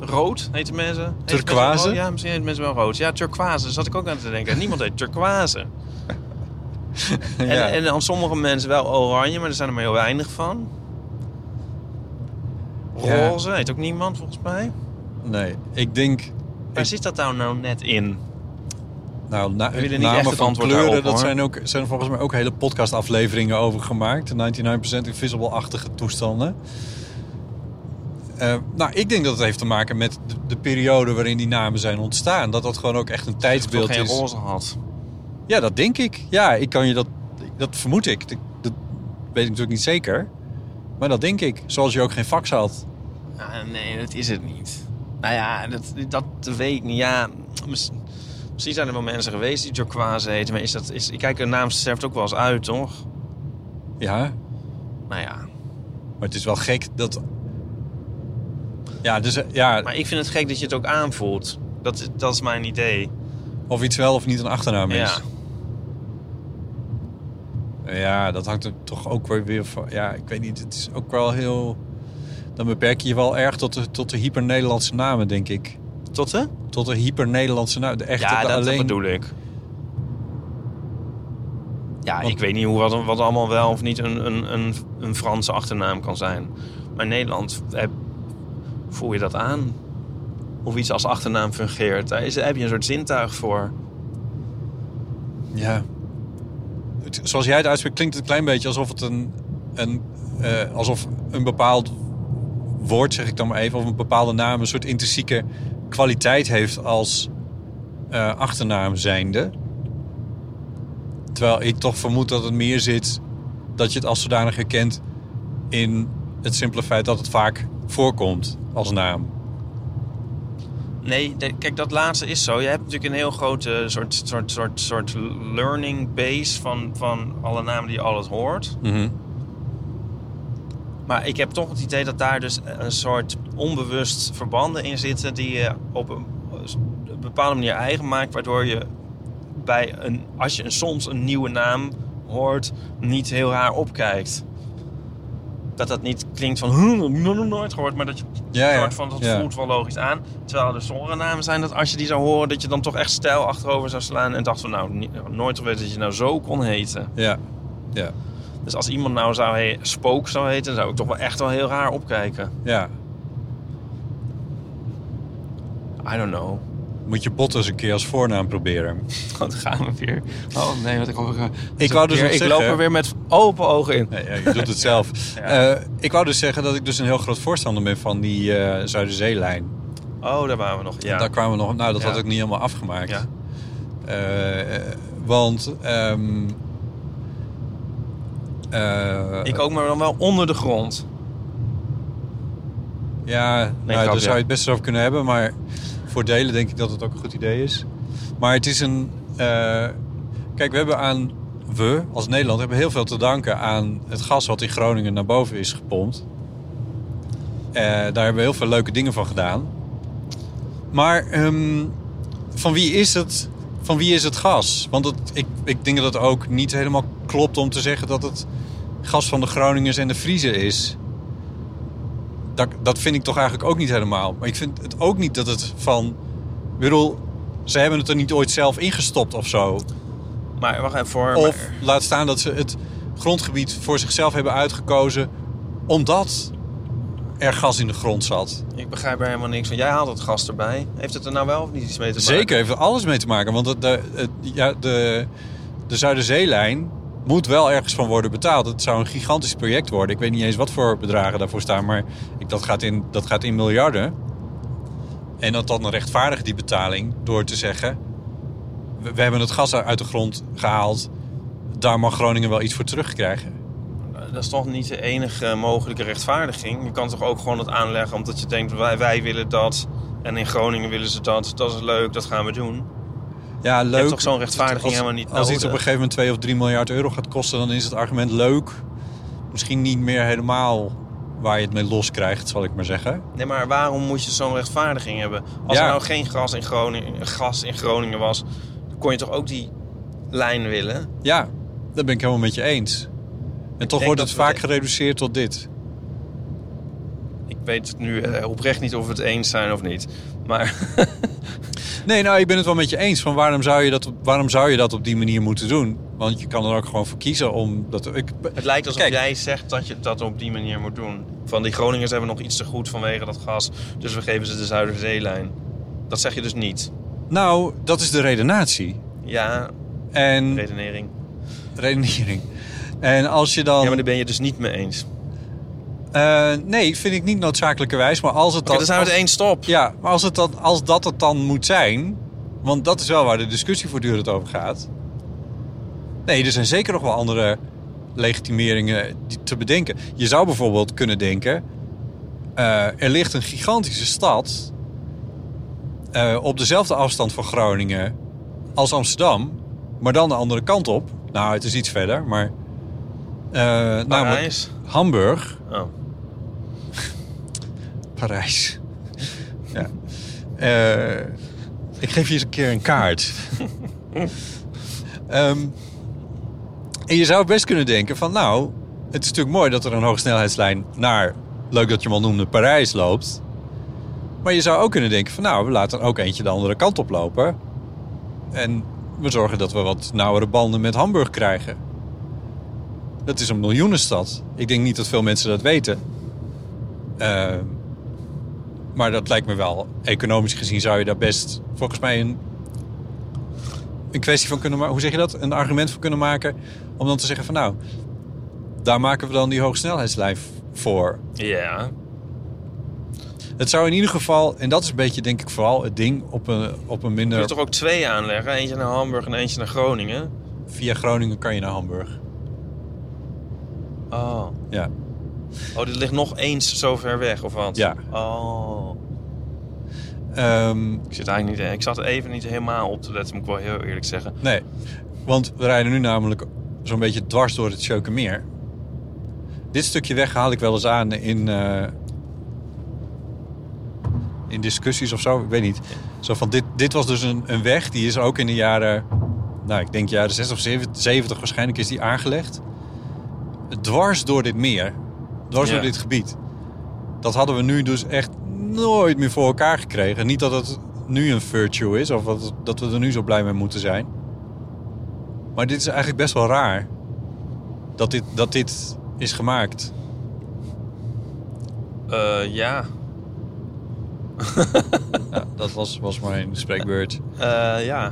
S4: rood heten mensen. Heet mensen
S5: Turquoise?
S4: wel rood? Ja, misschien heet mensen wel rood. Ja, turquoise. Daar zat ik ook aan te denken. Niemand heet turquoise. en,
S5: Ja.
S4: en dan sommige mensen wel oranje, maar er zijn er maar heel weinig van.
S5: Ja.
S4: Roze heet ook niemand volgens mij.
S5: nee, ik denk.
S4: Waar zit dat nou, nou net in?
S5: Nou, na,
S4: willen niet echt
S5: namen
S4: het
S5: van
S4: antwoord
S5: kleuren,
S4: daarop,
S5: dat
S4: hoor.
S5: zijn, ook, zijn volgens mij ook hele podcastafleveringen over gemaakt. 99% Invisible-achtige toestanden. Eh, nou, ik denk dat het heeft te maken met de, de periode waarin die namen zijn ontstaan. Dat dat gewoon ook echt een
S4: Ik Dus toch
S5: tijdsbeeld
S4: geen
S5: is.
S4: roze had.
S5: Ja, dat denk ik. Ja, ik kan je dat... Dat vermoed ik. Dat, dat weet ik natuurlijk niet zeker. Maar dat denk ik. Zoals je ook geen fax had.
S4: Ah, nee, dat is het niet. Nou ja, dat, dat weet ik niet. Ja, mis- misschien zijn er wel mensen geweest die turquoise heten. Maar is dat... Is, kijk, een naam sterft ook wel eens uit, toch?
S5: Ja,
S4: Nou ja.
S5: maar het is wel gek dat... Ja, dus, eh, ja
S4: Maar ik vind het gek dat je het ook aanvoelt. Dat, is- dat is mijn idee.
S5: of iets wel of niet een achternaam is.
S4: Ja.
S5: Ja, dat hangt er toch ook wel weer van. Ja, ik weet niet. Het is ook wel heel. Dan beperk je je wel erg tot de, tot de hyper-Nederlandse namen, denk ik.
S4: Tot hè?
S5: Tot een hyper-Nederlandse... Nou, de echte
S4: ja,
S5: de
S4: dat
S5: alleen...
S4: bedoel ik. Ja,
S5: Want-
S4: ik weet niet hoe, wat, wat allemaal wel of niet een, een, een, een Franse achternaam kan zijn. Maar in Nederland heb, voel je dat aan. Of iets als achternaam fungeert. Daar, is, daar heb je een soort zintuig voor.
S5: Ja. Het- zoals jij het uitspreekt klinkt het een klein beetje alsof het een... een eh, alsof een bepaald woord, zeg ik dan maar even... of een bepaalde naam een soort intrinsieke kwaliteit heeft als eh, achternaam zijnde. Terwijl ik toch vermoed dat het meer zit... dat je het als zodanig herkent in het simpele feit dat het vaak voorkomt als naam.
S4: Nee, de- kijk, dat laatste is zo. Je hebt natuurlijk een heel grote soort, soort, soort, soort learning base van, van alle namen die je alles hoort. Maar ik heb toch het idee dat daar dus een soort onbewust verbanden in zitten... die je op een eh, een bepaalde manier eigen maakt... waardoor je bij een, als je een, soms een nieuwe naam hoort, niet heel raar opkijkt. Dat dat niet klinkt van, "Huh, dat heb ik nog nooit gehoord... maar dat je
S5: Ja, ja.
S4: soort van, dat
S5: Ja.
S4: voelt wel logisch aan. Terwijl er sommige namen zijn dat als je die zou horen... dat je dan toch echt stijl achterover zou slaan... en dacht van, nou, ni- nooit geweten dat je nou zo kon heten.
S5: Ja, ja,
S4: Dus als iemand nou zou he- spook zou heten, zou ik toch wel echt wel heel raar opkijken.
S5: ja.
S4: I don't know.
S5: Moet je bot eens een keer als voornaam proberen.
S4: Wat gaan we weer? Oh nee, wat ik hoor.
S5: Ik wou dus
S4: Weer-
S5: nog
S4: ik
S5: zeggen-
S4: loop er weer met open ogen in.
S5: Nee, ja, je doet het zelf. Eh, ik wou dus zeggen dat ik dus een heel groot voorstander ben van die eh, Zuiderzeelijn.
S4: Oh, daar waren we nog. Ja.
S5: Daar kwamen we nog... Nou, dat
S4: Ja.
S5: had ik niet helemaal afgemaakt.
S4: Ja.
S5: Eh, eh, want... ehm, eh,
S4: Ik ook, maar dan wel onder de grond.
S5: Ja, nou,
S4: grapje.
S5: daar zou je het best over kunnen hebben. Maar voor delen denk ik dat het ook een goed idee is. Maar het is een... eh, kijk, we hebben aan... We als Nederland hebben heel veel te danken aan het gas wat in Groningen naar boven is gepompt. Eh, daar hebben we heel veel leuke dingen van gedaan. Maar ehm, van, wie is het, van wie is het gas? Want het, ik, ik denk dat het ook niet helemaal klopt om te zeggen dat het gas van de Groningers en de Friese is dat, dat vind ik toch eigenlijk ook niet helemaal. Maar ik vind het ook niet dat het van... Ik bedoel, ze hebben het er niet ooit zelf ingestopt of zo.
S4: Maar wacht even voor.
S5: Of laat staan dat ze het grondgebied voor zichzelf hebben uitgekozen... omdat er gas in de grond zat.
S4: Ik begrijp er helemaal niks van. Jij haalt het gas erbij. Heeft het er nou wel of niet iets mee te maken?
S5: Zeker, heeft er alles mee te maken. Want het- de, het- ja, de, de Zuiderzeelijn moet wel ergens van worden betaald. Het zou een gigantisch project worden. Ik weet niet eens wat voor bedragen daarvoor staan. Maar ik, dat, gaat in, dat gaat in miljarden. En dat dan rechtvaardig die betaling door te zeggen... We, we hebben het gas uit de grond gehaald. Daar mag Groningen wel iets voor terugkrijgen.
S4: Eh, Dat is toch niet de enige eh, mogelijke rechtvaardiging. Je kan toch ook gewoon het aanleggen omdat je denkt wij, wij willen dat. En in Groningen willen ze dat. Dat is leuk, dat gaan we doen.
S5: Ja, leuk.
S4: hebt toch zo'n rechtvaardiging
S5: Als-
S4: helemaal niet
S5: Als iets op
S4: nodig?
S5: een gegeven moment 2 of 3 miljard euro gaat kosten, dan is het argument leuk. Misschien niet meer helemaal waar je het mee los krijgt, zal ik maar zeggen.
S4: Nee, maar waarom moet je zo'n rechtvaardiging hebben? Als
S5: Ja.
S4: er nou geen gas in, Groningen, gas in Groningen was, dan kon je toch ook die lijn willen?
S5: Ja, dat ben ik helemaal met je eens. En toch
S4: denk
S5: wordt
S4: dat
S5: het
S4: we
S5: vaak
S4: de-
S5: gereduceerd tot dit.
S4: Ik weet nu eh, oprecht niet of we het eens zijn of niet. Maar
S5: Nee, nou, ik ben het wel met je eens. Van waarom, zou je dat, waarom zou je dat op die manier moeten doen? Want je kan er ook gewoon voor kiezen om dat... Ik,
S4: het lijkt alsof
S5: Kijk.
S4: jij zegt dat je dat op die manier moet doen. Van die Groningers hebben nog iets te goed vanwege dat gas. Dus we geven ze de Zuiderzeelijn. Dat zeg je dus niet.
S5: Nou, dat is de redenatie.
S4: Ja,
S5: En
S4: redenering.
S5: redenering. En als je dan...
S4: Ja, maar daar ben je dus niet mee eens. Oké,
S5: Eh, nee, vind ik niet noodzakelijkerwijs. Maar als het dan...
S4: dan zijn we
S5: als-
S4: het eens, stop.
S5: Ja, maar als, het dan, als dat het dan moet zijn... want dat is wel waar de discussie voortdurend over gaat. Nee, er zijn zeker nog wel andere legitimeringen die- te bedenken. Je zou bijvoorbeeld kunnen denken... eh, er ligt een gigantische stad... eh, op dezelfde afstand van Groningen als Amsterdam... maar dan de andere kant op. Nou, het is iets verder, maar... eh, namelijk
S4: Parijs.
S5: Hamburg...
S4: Oh.
S5: Parijs. Ja. Eh, ik geef je eens een keer een kaart. Ehm, en je zou best kunnen denken van... nou, het is natuurlijk mooi dat er een hoogsnelheidslijn naar... leuk dat je hem al noemde, Parijs loopt. Maar je zou ook kunnen denken van nou, we laten ook eentje de andere kant op lopen. En we zorgen dat we wat nauwere banden met Hamburg krijgen. Dat is een miljoenenstad. Ik denk niet dat veel mensen dat weten. Eh, maar dat lijkt me wel, economisch gezien zou je daar best volgens mij een, een kwestie van kunnen maken. Hoe zeg je dat? Een argument voor kunnen maken. Om dan te zeggen van nou, daar maken we dan die hoogsnelheidslijn voor.
S4: Ja.
S5: Het zou in ieder geval, en dat is een beetje denk ik vooral het ding op een, op een
S4: Kun je
S5: minder...
S4: toch ook twee aanleggen? Eentje naar Hamburg en eentje naar Groningen?
S5: Via Groningen kan je naar Hamburg.
S4: Oh.
S5: Ja.
S4: Oh, dit ligt nog eens zo ver weg, of wat?
S5: Ja.
S4: Oh.
S5: Ehm,
S4: Ik zit eigenlijk niet... eh, Ik zat even niet helemaal op te letten, moet ik wel heel eerlijk zeggen.
S5: nee, want we rijden nu namelijk zo'n beetje dwars door het Sjeukenmeer. Dit stukje weg haal ik wel eens aan in, eh, in discussies of zo. Ik weet niet. Zo van, dit, dit was dus een, een weg, die is ook in de jaren... Nou, ik denk jaren 60 of 70, 70 waarschijnlijk is die aangelegd. Dwars door dit meer. Dwars
S4: Ja.
S5: door dit gebied. Dat hadden we nu dus echt nooit meer voor elkaar gekregen. Niet dat het nu een virtue is of dat, dat we er nu zo blij mee moeten zijn. Maar dit is eigenlijk best wel raar. Dat dit, dat dit is gemaakt.
S4: Eh, ja.
S5: Ja, dat was, was mijn spreekbeurt.
S4: Eh, ja.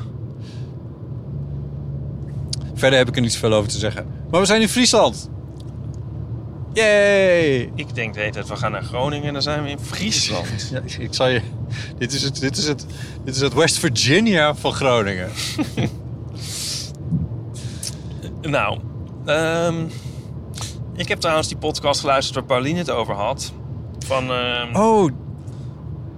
S5: Verder heb ik er niet zoveel over te zeggen. Maar we zijn in Friesland. Yay!
S4: Ik denk de hele tijd, we gaan naar Groningen en dan zijn we in Friesland.
S5: Ja, ik- ik zal je... Dit is het, dit is het, dit is het West Virginia van Groningen.
S4: nou, ehm, ik heb trouwens die podcast geluisterd waar Pauline het over had. Van, ehm,
S5: Oh,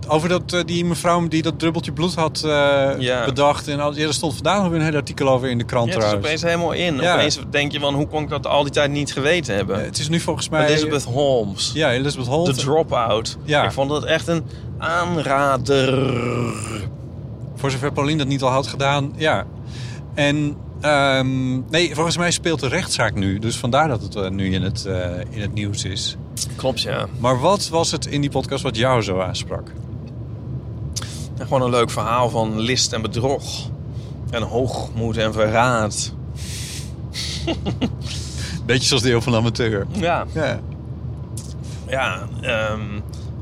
S5: over dat, eh, die mevrouw die dat druppeltje bloed had eh,
S4: Ja.
S5: bedacht. En al, ja, er stond vandaag nog weer een hele artikel over in de krant
S4: ja, het is
S5: trouwens.
S4: opeens helemaal in.
S5: Ja.
S4: Opeens denk je van, hoe kon ik dat al die tijd niet geweten
S5: Eh,
S4: hebben?
S5: het is nu volgens mij...
S4: Elizabeth Holmes.
S5: Ja, Elizabeth Holt.
S4: De Dropout.
S5: Ja.
S4: Ik vond het echt een aanrader.
S5: Voor zover Paulien dat niet al had gedaan, ja. En ehm, nee, volgens mij speelt de rechtszaak nu. Dus vandaar dat het eh, nu in het, eh, in het nieuws is.
S4: Klopt, ja.
S5: Maar wat was het in die podcast wat jou zo aansprak?
S4: En Gewoon een leuk verhaal van list en bedrog. En hoogmoed en verraad.
S5: Beetje zoals deel van de amateur.
S4: Ja.
S5: Ja.
S4: Ja, ehm,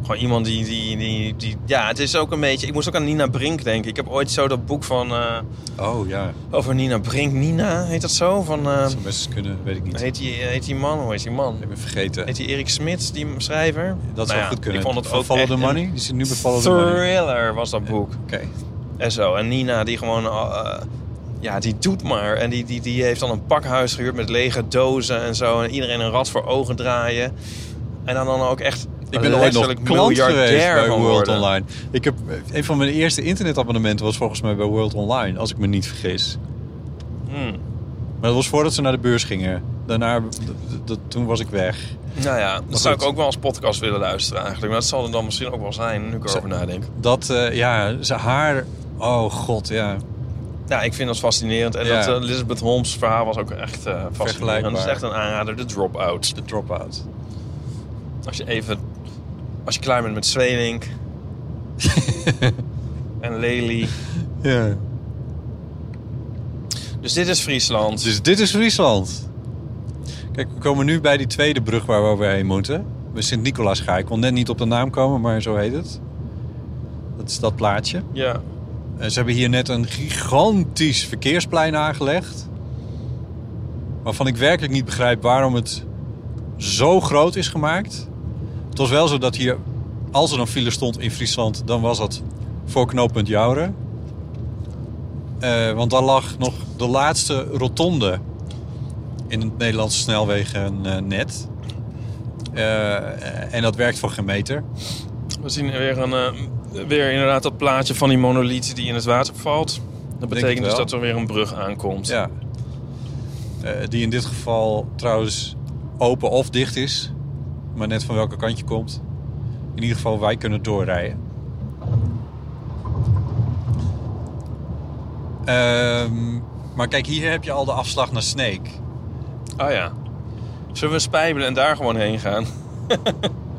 S4: gewoon iemand die, die, die, die... Ja, het is ook een beetje... Ik moest ook aan Nina Brink denken. Ik heb ooit zo dat boek van... eh,
S5: Oh ja,
S4: over Nina Brink. Nina, heet dat zo? Van, eh,
S5: dat zou best eens kunnen, weet ik niet. Ik
S4: heet, die, eh, heet die man? Hoe heet die man?
S5: heb hem vergeten.
S4: Heet die Erik Smit, die schrijver?
S5: Dat zou
S4: Nou ja,
S5: goed kunnen.
S4: Ik vond het
S5: Van
S4: ook
S5: Follow
S4: echt
S5: the
S4: een
S5: Money? Die zit nu bij Follow the Money.
S4: Thriller was dat boek.
S5: Oké.
S4: En zo. En Nina, die gewoon... eh, ja, die doet maar. En die, die, die heeft dan een pakhuis gehuurd met lege dozen en zo. En iedereen een rat voor ogen draaien. En dan, dan ook echt...
S5: Ik ben ooit nog
S4: letterlijk
S5: klant geweest
S4: miljardair
S5: bij
S4: van
S5: World
S4: worden.
S5: Online. Ik heb, een van mijn eerste internetabonnementen was volgens mij bij World Online, als ik me niet vergis.
S4: Hmm.
S5: Maar dat was voordat ze naar de beurs gingen. Daarna, d- d- d- toen was ik weg.
S4: Nou ja, dat zou ik
S5: goed.
S4: ook wel als podcast willen luisteren eigenlijk. Maar dat zal er dan misschien ook wel zijn, nu ik erover nadenk.
S5: Dat, eh, ja, ze, haar... Oh god, ja.
S4: Ja, ik vind dat fascinerend. En
S5: Ja.
S4: dat eh, Elizabeth Holmes verhaal was ook echt eh fascinerend. Dat
S5: Vergelijkbaar.
S4: is echt een aanrader, de drop-out.
S5: De drop-out.
S4: Als je even... Als je klaar bent met Zwelink... en Lely.
S5: Ja.
S4: Dus dit is Friesland.
S5: Dus dit is Friesland. Kijk, we komen nu bij die tweede brug waar we overheen moeten. Bij Sint-Nicolaas ga ik. kon net niet op de naam komen, maar zo heet het. Dat is dat plaatje.
S4: Ja.
S5: Eh, ze hebben hier net een gigantisch verkeersplein aangelegd. Waarvan ik werkelijk niet begrijp waarom het zo groot is gemaakt. Het was wel zo dat hier, als er een file stond in Friesland, dan was dat voor knooppunt Jouren. Eh, want daar lag nog de laatste rotonde in het Nederlandse snelwegennet. Eh, en dat werkt voor geen meter.
S4: We zien weer, een, eh, weer inderdaad dat plaatje van die monolith die in het water valt. Dat
S5: het
S4: betekent dus
S5: wel.
S4: dat er weer een brug aankomt.
S5: Ja. Eh, die in dit geval trouwens open of dicht is. Maar net van welke kant je komt. In ieder geval, wij kunnen doorrijden. Ehm, maar kijk, hier heb je al de afslag naar Snake.
S4: Ah ja. Zullen we spijbelen en daar gewoon heen gaan?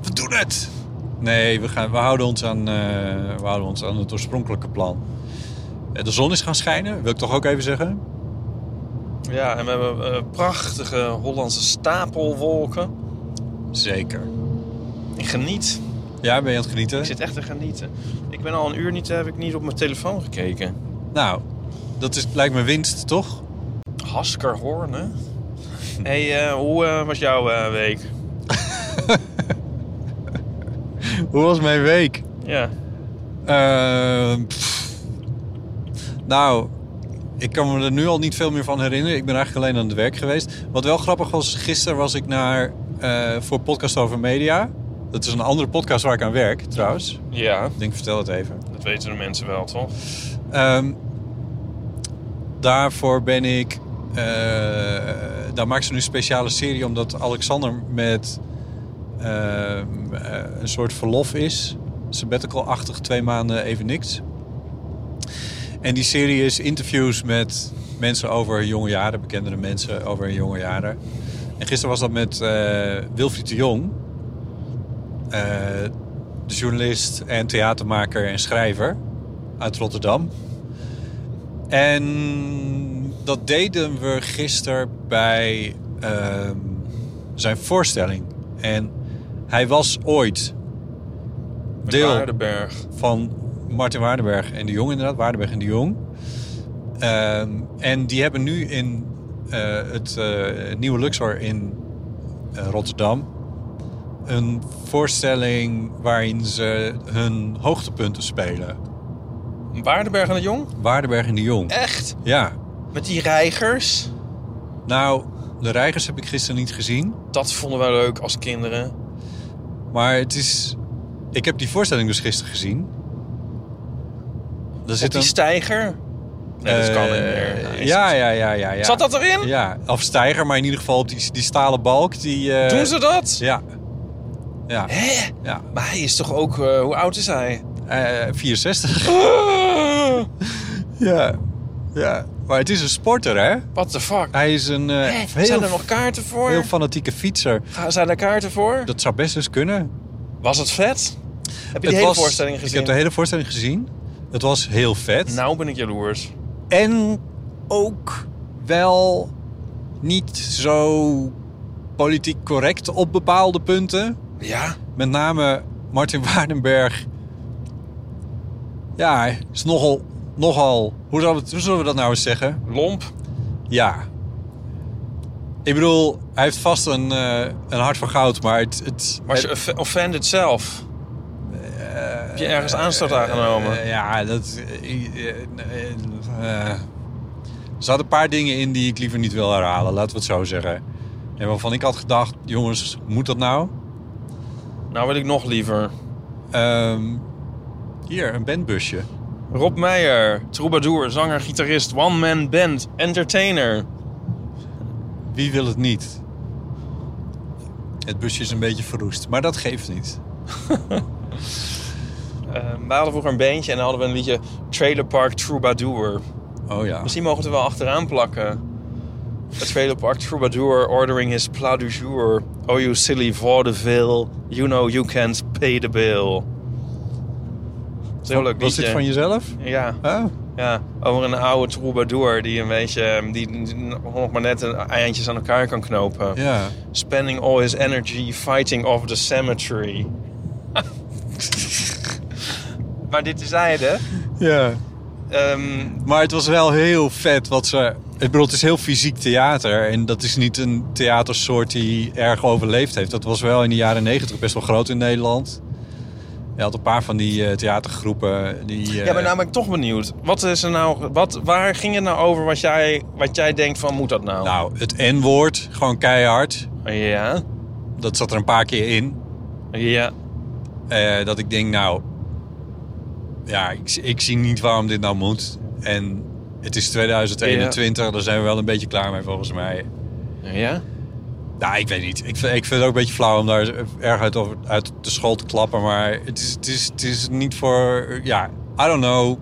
S5: We doen het! Nee, we, gaan, we, houden ons aan, eh, we houden ons aan het oorspronkelijke plan. Eh, De zon is gaan schijnen, wil ik toch ook even zeggen.
S4: Ja, en we hebben eh, prachtige Hollandse stapelwolken.
S5: Zeker.
S4: Ik geniet.
S5: Ja, ben je aan het genieten?
S4: Ik zit echt te genieten. Ik ben al een uur niet, heb ik niet op mijn telefoon gekeken.
S5: Nou, dat is, lijkt me winst, toch?
S4: Haskerhoorn, hè? hey, eh, hoe eh, was jouw eh, week?
S5: Hoe was mijn week?
S4: Ja.
S5: Eh, pff. nou, ik kan me er nu al niet veel meer van herinneren. Ik ben eigenlijk alleen aan het werk geweest. Wat wel grappig was, gisteren was ik naar, eh, voor Podcast Over Media. Dat is een andere podcast waar ik aan werk, trouwens.
S4: Ja,
S5: Ik denk, vertel het even.
S4: dat weten de mensen wel, toch?
S5: Ehm, daarvoor ben ik. eh, daar maakt ze nu een speciale serie omdat Alexander met ehm, eh, een soort verlof is. Sabbatical-achtig, twee maanden even niks. En die serie is interviews met mensen over hun jonge jaren, bekendere mensen over hun jonge jaren. En gisteren was dat met eh, Wilfried de Jong, eh, de journalist en theatermaker en schrijver uit Rotterdam. En dat deden we gisteren bij ehm, zijn voorstelling. En hij was ooit deel
S4: Waardenberg.
S5: van Martin Waardenberg en de Jong, inderdaad. Waardenberg en de Jong. Ehm, en die hebben nu in eh, het eh, nieuwe Luxor in eh, Rotterdam een voorstelling waarin ze hun hoogtepunten spelen.
S4: Waardenberg en de Jong?
S5: Waardenberg en de Jong.
S4: Echt?
S5: Ja.
S4: Met die reigers?
S5: Nou, de reigers heb ik gisteren niet gezien.
S4: Dat vonden wij leuk als kinderen.
S5: Maar het is... Ik heb die voorstelling dus gisteren gezien. Daar
S4: Zit
S5: zit
S4: die
S5: een...
S4: stijger? Nee, dat kan niet
S5: eh,
S4: meer. Nee,
S5: ja, ja, ja, ja, ja.
S4: Zat dat erin?
S5: Ja, of stijger, maar in ieder geval op die, die stalen balk. Die, eh,
S4: Doen ze dat?
S5: Ja. Ja.
S4: Hè?
S5: ja.
S4: Maar hij is toch ook... eh, hoe oud is hij?
S5: Eh, 64. Ah. ja. Ja. Maar het is een sporter, hè?
S4: What the fuck?
S5: Hij is een eh,
S4: Hè?
S5: heel,
S4: Zijn er nog kaarten voor?
S5: heel fanatieke fietser.
S4: Ga- Zijn er kaarten voor?
S5: Dat zou best eens kunnen.
S4: Was het vet? Heb je
S5: Het
S4: de hele
S5: was-
S4: voorstelling
S5: Ik
S4: gezien?
S5: heb de hele voorstelling gezien. Het was heel vet.
S4: Nou ben ik jaloers.
S5: En ook wel niet zo politiek correct op bepaalde punten.
S4: Ja?
S5: Met name Martin Waardenberg. Ja, is nogal. nogal hoe, zullen we, het- hoe zullen we dat nou eens zeggen?
S4: Lomp?
S5: Ja. Ik bedoel, hij heeft vast een, eh, een hart van goud, maar het. het
S4: Was je off- offended zelf? heb je ergens aanstoot aangenomen?
S5: Eh, ja, dat. eh, eh, eh, eh. er zaten een paar dingen in die ik liever niet wil herhalen, laten we het zo zeggen. En waarvan ik had gedacht, jongens, moet dat nou?
S4: nou wil ik nog liever.
S5: Ehm, hier, een bandbusje.
S4: Rob Meijer, troubadour, zanger, gitarist, one-man band, entertainer.
S5: Wie wil het niet? Het busje is een beetje verroest, maar dat geeft niet.
S4: Eh, we hadden vroeger een bandje en dan hadden we een liedje Trailer Park Troubadour.
S5: Oh ja.
S4: Misschien mogen we het er wel achteraan plakken. A Trailer Park Troubadour ordering his plat du jour. Oh you silly vaudeville, you know you can't pay the bill. Dat is een heel leuk
S5: Was dit
S4: liedje.
S5: van jezelf?
S4: Ja,
S5: Oh.
S4: ja, over een oude troubadour die een beetje... ehm, die die nog maar net een eindjes aan elkaar kan knopen.
S5: Ja.
S4: Spending all his energy fighting off the cemetery. maar dit is hij, hè?
S5: Ja.
S4: Ehm,
S5: Maar het was wel heel vet wat ze... Ik bedoel, het is heel fysiek theater. En dat is niet een theatersoort die erg overleefd heeft. Dat was wel in de jaren negentig best wel groot in Nederland. Je had een paar van die eh, theatergroepen die... eh,
S4: Ja, maar nou ben ik toch benieuwd. Wat is er nou, wat, waar ging het nou over wat jij, wat jij denkt van moet dat nou?
S5: Nou, het N-woord, gewoon keihard.
S4: Ja,
S5: Dat zat er een paar keer in.
S4: ja.
S5: Eh, dat ik denk, nou... Ja, ik, ik zie niet waarom dit nou moet. En het is 2021, daar zijn we wel een beetje klaar mee volgens mij.
S4: Ja?
S5: Nou, ik weet niet. Ik vind, ik vind het ook een beetje flauw om daar erg uit, over- uit de school te klappen. Maar het is, het, is, het is niet voor... Ja, I don't know.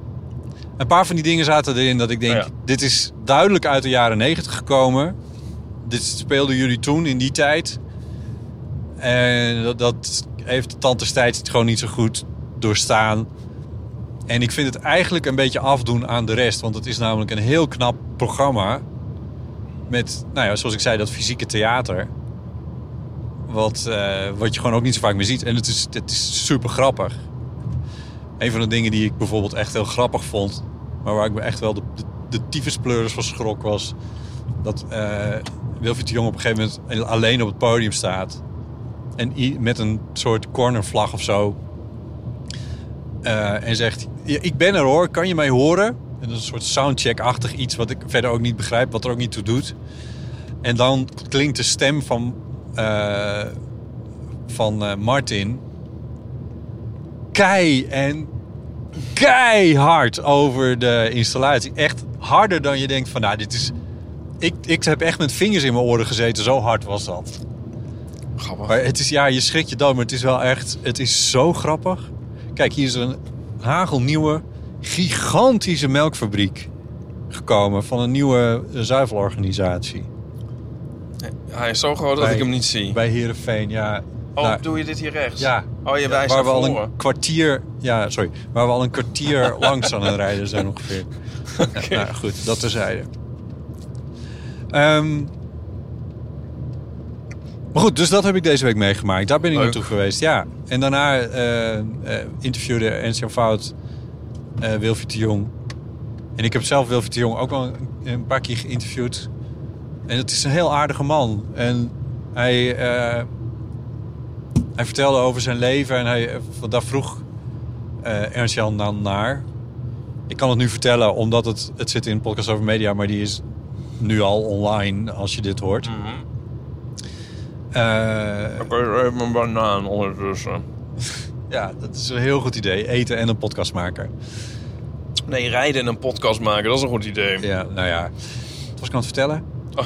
S5: Een paar van die dingen zaten erin dat ik denk...
S4: Ja.
S5: Dit is duidelijk uit de jaren negentig gekomen. Dit speelden jullie toen, in die tijd. En dat, dat heeft de tand destijds het gewoon niet zo goed doorstaan. En ik vind het eigenlijk een beetje afdoen aan de rest. Want het is namelijk een heel knap programma. Met, nou ja, zoals ik zei, dat fysieke theater. Wat, eh, wat je gewoon ook niet zo vaak meer ziet. En het is, het is super grappig. Een van de dingen die ik bijvoorbeeld echt heel grappig vond. Maar waar ik me echt wel de, de, de tyfuspleurers van schrok was. Dat eh Wilfried de Jong op een gegeven moment alleen op het podium staat. En i- met een soort cornervlag of zo eh, en zegt: "Ja, Ik ben er hoor, kan je mij horen? En dat is een soort soundcheck-achtig iets wat ik verder ook niet begrijp, wat er ook niet toe doet. En dan klinkt de stem van, eh, van eh, Martin kei en keihard over de installatie. Echt harder dan je denkt van, nou, dit is... Ik, ik heb echt met vingers in mijn oren gezeten, zo hard was dat.
S4: Grappig.
S5: Maar het is, ja, je schrikt je dood, maar het is wel echt, het is zo grappig. Kijk, hier is een hagelnieuwe, gigantische melkfabriek gekomen van een nieuwe eh, zuivelorganisatie.
S4: Hij is zo groot dat
S5: Bij-
S4: ik hem niet zie.
S5: Bij Heerenveen, ja.
S4: Oh,
S5: Nou,
S4: doe je dit hier rechts?
S5: ja.
S4: Oh, je wijst
S5: waar
S4: naar
S5: we al
S4: voren.
S5: een kwartier, ja, sorry, waar we al een kwartier langs aan het rijden zijn ongeveer. Nou goed, dat terzijde. Ehm maar goed, dus dat heb ik deze week meegemaakt. Daar ben ik
S4: Leuk.
S5: naartoe geweest, ja. En daarna eh, eh, interviewde Ernst Jan Fout eh Wilfried de Jong. En ik heb zelf Wilfried de Jong ook al een- een paar keer geïnterviewd. En het is een heel aardige man. En hij, eh, hij vertelde over zijn leven en hij, eh, want daar vroeg eh Ernst-Jan dan naar. Ik kan het nu vertellen, omdat het, het zit in podcast over media, maar die is nu al online als je dit hoort. Eh,
S4: Ik eet even een banaan ondertussen.
S5: ja, dat is een heel goed idee. Eten en een podcast maken.
S4: Nee, rijden en een podcast maken, dat is een goed idee.
S5: Ja, nou ja. Dat was ik aan het vertellen.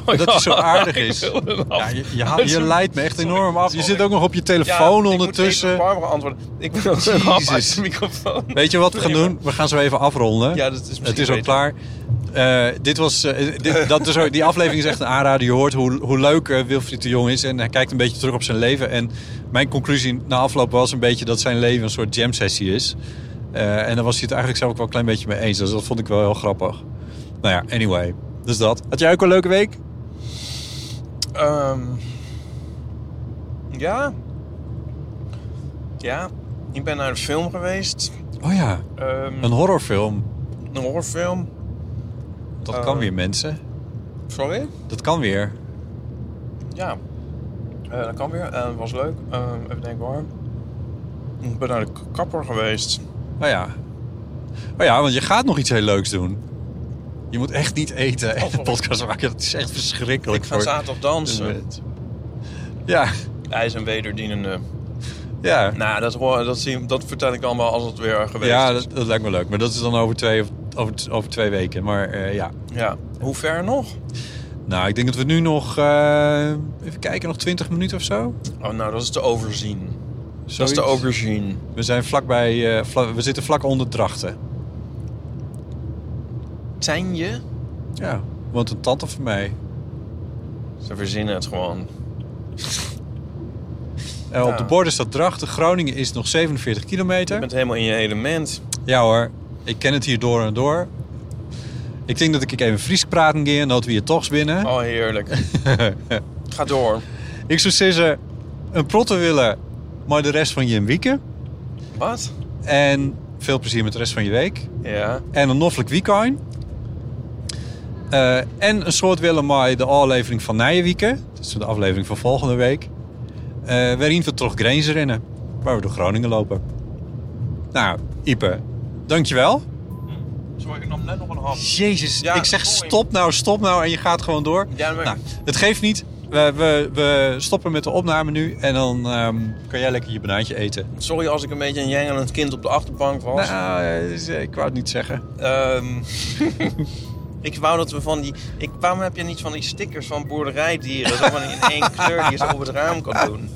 S4: Oh,
S5: Dat
S4: ja.
S5: hij zo aardig
S4: Ik
S5: is.
S4: wilde een
S5: Ja,
S4: af-
S5: je, je, haalt- je leidt me echt
S4: Sorry,
S5: enorm af. Oh, Je
S4: sorry.
S5: zit ook nog op je
S4: Ja,
S5: telefoon
S4: ik moet even
S5: ondertussen.
S4: Barbara antwoorden. Ik wil ook een hap uit
S5: Jezus.
S4: de microfoon.
S5: Weet je wat we gaan
S4: Nee, maar-
S5: doen? We gaan zo even afronden.
S4: Ja, dat is misschien
S5: Het is ook
S4: beter.
S5: klaar. Eh, dit was, eh, dit, dat is ook- die aflevering is echt een aanrader. Je hoort hoe, hoe leuk eh, Wilfried de Jong is. En hij kijkt een beetje terug op zijn leven. En mijn conclusie na afloop was een beetje dat zijn leven een soort jam sessie is. Eh, en daar was hij het eigenlijk zelf ook wel een klein beetje mee eens. Dus dat vond ik wel heel grappig. Nou ja, anyway. Dus dat. Had jij ook een leuke week?
S4: Ehm, ja. Ja. Ik ben naar de film geweest.
S5: Oh ja,
S4: Ehm,
S5: een horrorfilm.
S4: een horrorfilm.
S5: Dat kan
S4: Eh.
S5: weer, mensen.
S4: Sorry?
S5: Dat kan weer.
S4: Ja. Eh, dat kan weer. Eh, was leuk. Eh, even denken waar. Ik ben naar de k- kapper geweest.
S5: Oh ja. Oh ja, want je gaat nog iets heel leuks doen. Je moet echt niet eten en een podcast maken. Dat is echt verschrikkelijk.
S4: Oh, Ik ga zaterdag dus, dansen.
S5: Ja,
S4: IJs en wederdienende.
S5: ja.
S4: Nou, dat, hoor, dat, zie, dat vertel ik allemaal als het weer geweest
S5: ja
S4: is.
S5: dat, dat lijkt me leuk. Maar dat is dan over twee, of- over, t- over twee weken. Maar eh, ja.
S4: Ja. Hoe ver nog?
S5: Nou, ik denk dat we nu nog... eh, even kijken, nog 20 minuten of zo?
S4: Oh, nou, dat is te overzien. Dat
S5: Zoiets.
S4: is te overzien.
S5: We, zijn vlakbij, eh, vla- we zitten vlak onder drachten.
S4: Zijn je?
S5: Ja, want een tante van mij...
S4: Ze verzinnen het gewoon.
S5: Eh,
S4: Ah.
S5: Op de borden staat drachten. Groningen is nog 47 kilometer.
S4: Je bent helemaal in je element.
S5: Ja hoor, ik ken het hier door en door. Ik denk dat ik even Fries praat een keer en dat we hier toch binnen.
S4: Oh, heerlijk. Ga door.
S5: Ik zou zeggen, een protte willen, maar de rest van je weekend.
S4: Wat?
S5: En veel plezier met de rest van je week.
S4: Ja.
S5: En een noffelijk weekend. Eh, en een soort willen maar de aflevering van Nijenwieken. Dat is de aflevering van volgende week. Eh waarin we toch grenzen rennen. Waar we door Groningen lopen. Nou, Ipe, dankjewel.
S4: Sorry, ik nam net nog een hap.
S5: Jezus,
S4: Ja,
S5: ik zeg
S4: sorry.
S5: stop nou, stop nou en je gaat gewoon door.
S4: Ja, maar-
S5: Nou, het geeft niet. We, we, we stoppen met de opname nu en dan ehm, kan jij lekker je banaantje eten.
S4: Sorry als ik een beetje een jengelend kind op de achterbank was.
S5: Nou, eh, dus, eh, ik wou het niet zeggen.
S4: Ehm, ik wou dat we van die... Ik, waarom heb je niet van die stickers van boerderijdieren? Zo van in één kleur die je zo op het raam kan doen.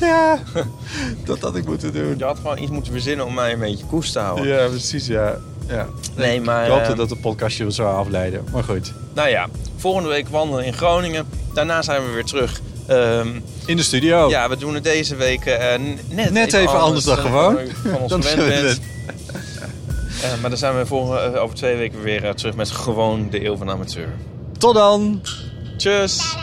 S5: Ja, dat had ik moeten doen.
S4: Je had gewoon iets moeten verzinnen om mij een beetje koest te houden.
S5: Ja, precies, ja. ja.
S4: Nee, maar,
S5: Ik hoopte
S4: ehm,
S5: dat de podcastje wel zou afleiden, maar goed.
S4: Nou ja, volgende week wandelen in Groningen. Daarna zijn we weer terug Ehm,
S5: In de studio.
S4: Ja, we doen het deze week eh, n- net,
S5: Net even anders dan gewoon.
S4: u Van ons
S5: Dan
S4: gewend
S5: zullen we
S4: bent. Eh, maar dan zijn we volgende, eh, over twee weken weer eh, terug met gewoon de Eeuw van Amateur.
S5: Tot dan.
S4: Tjus!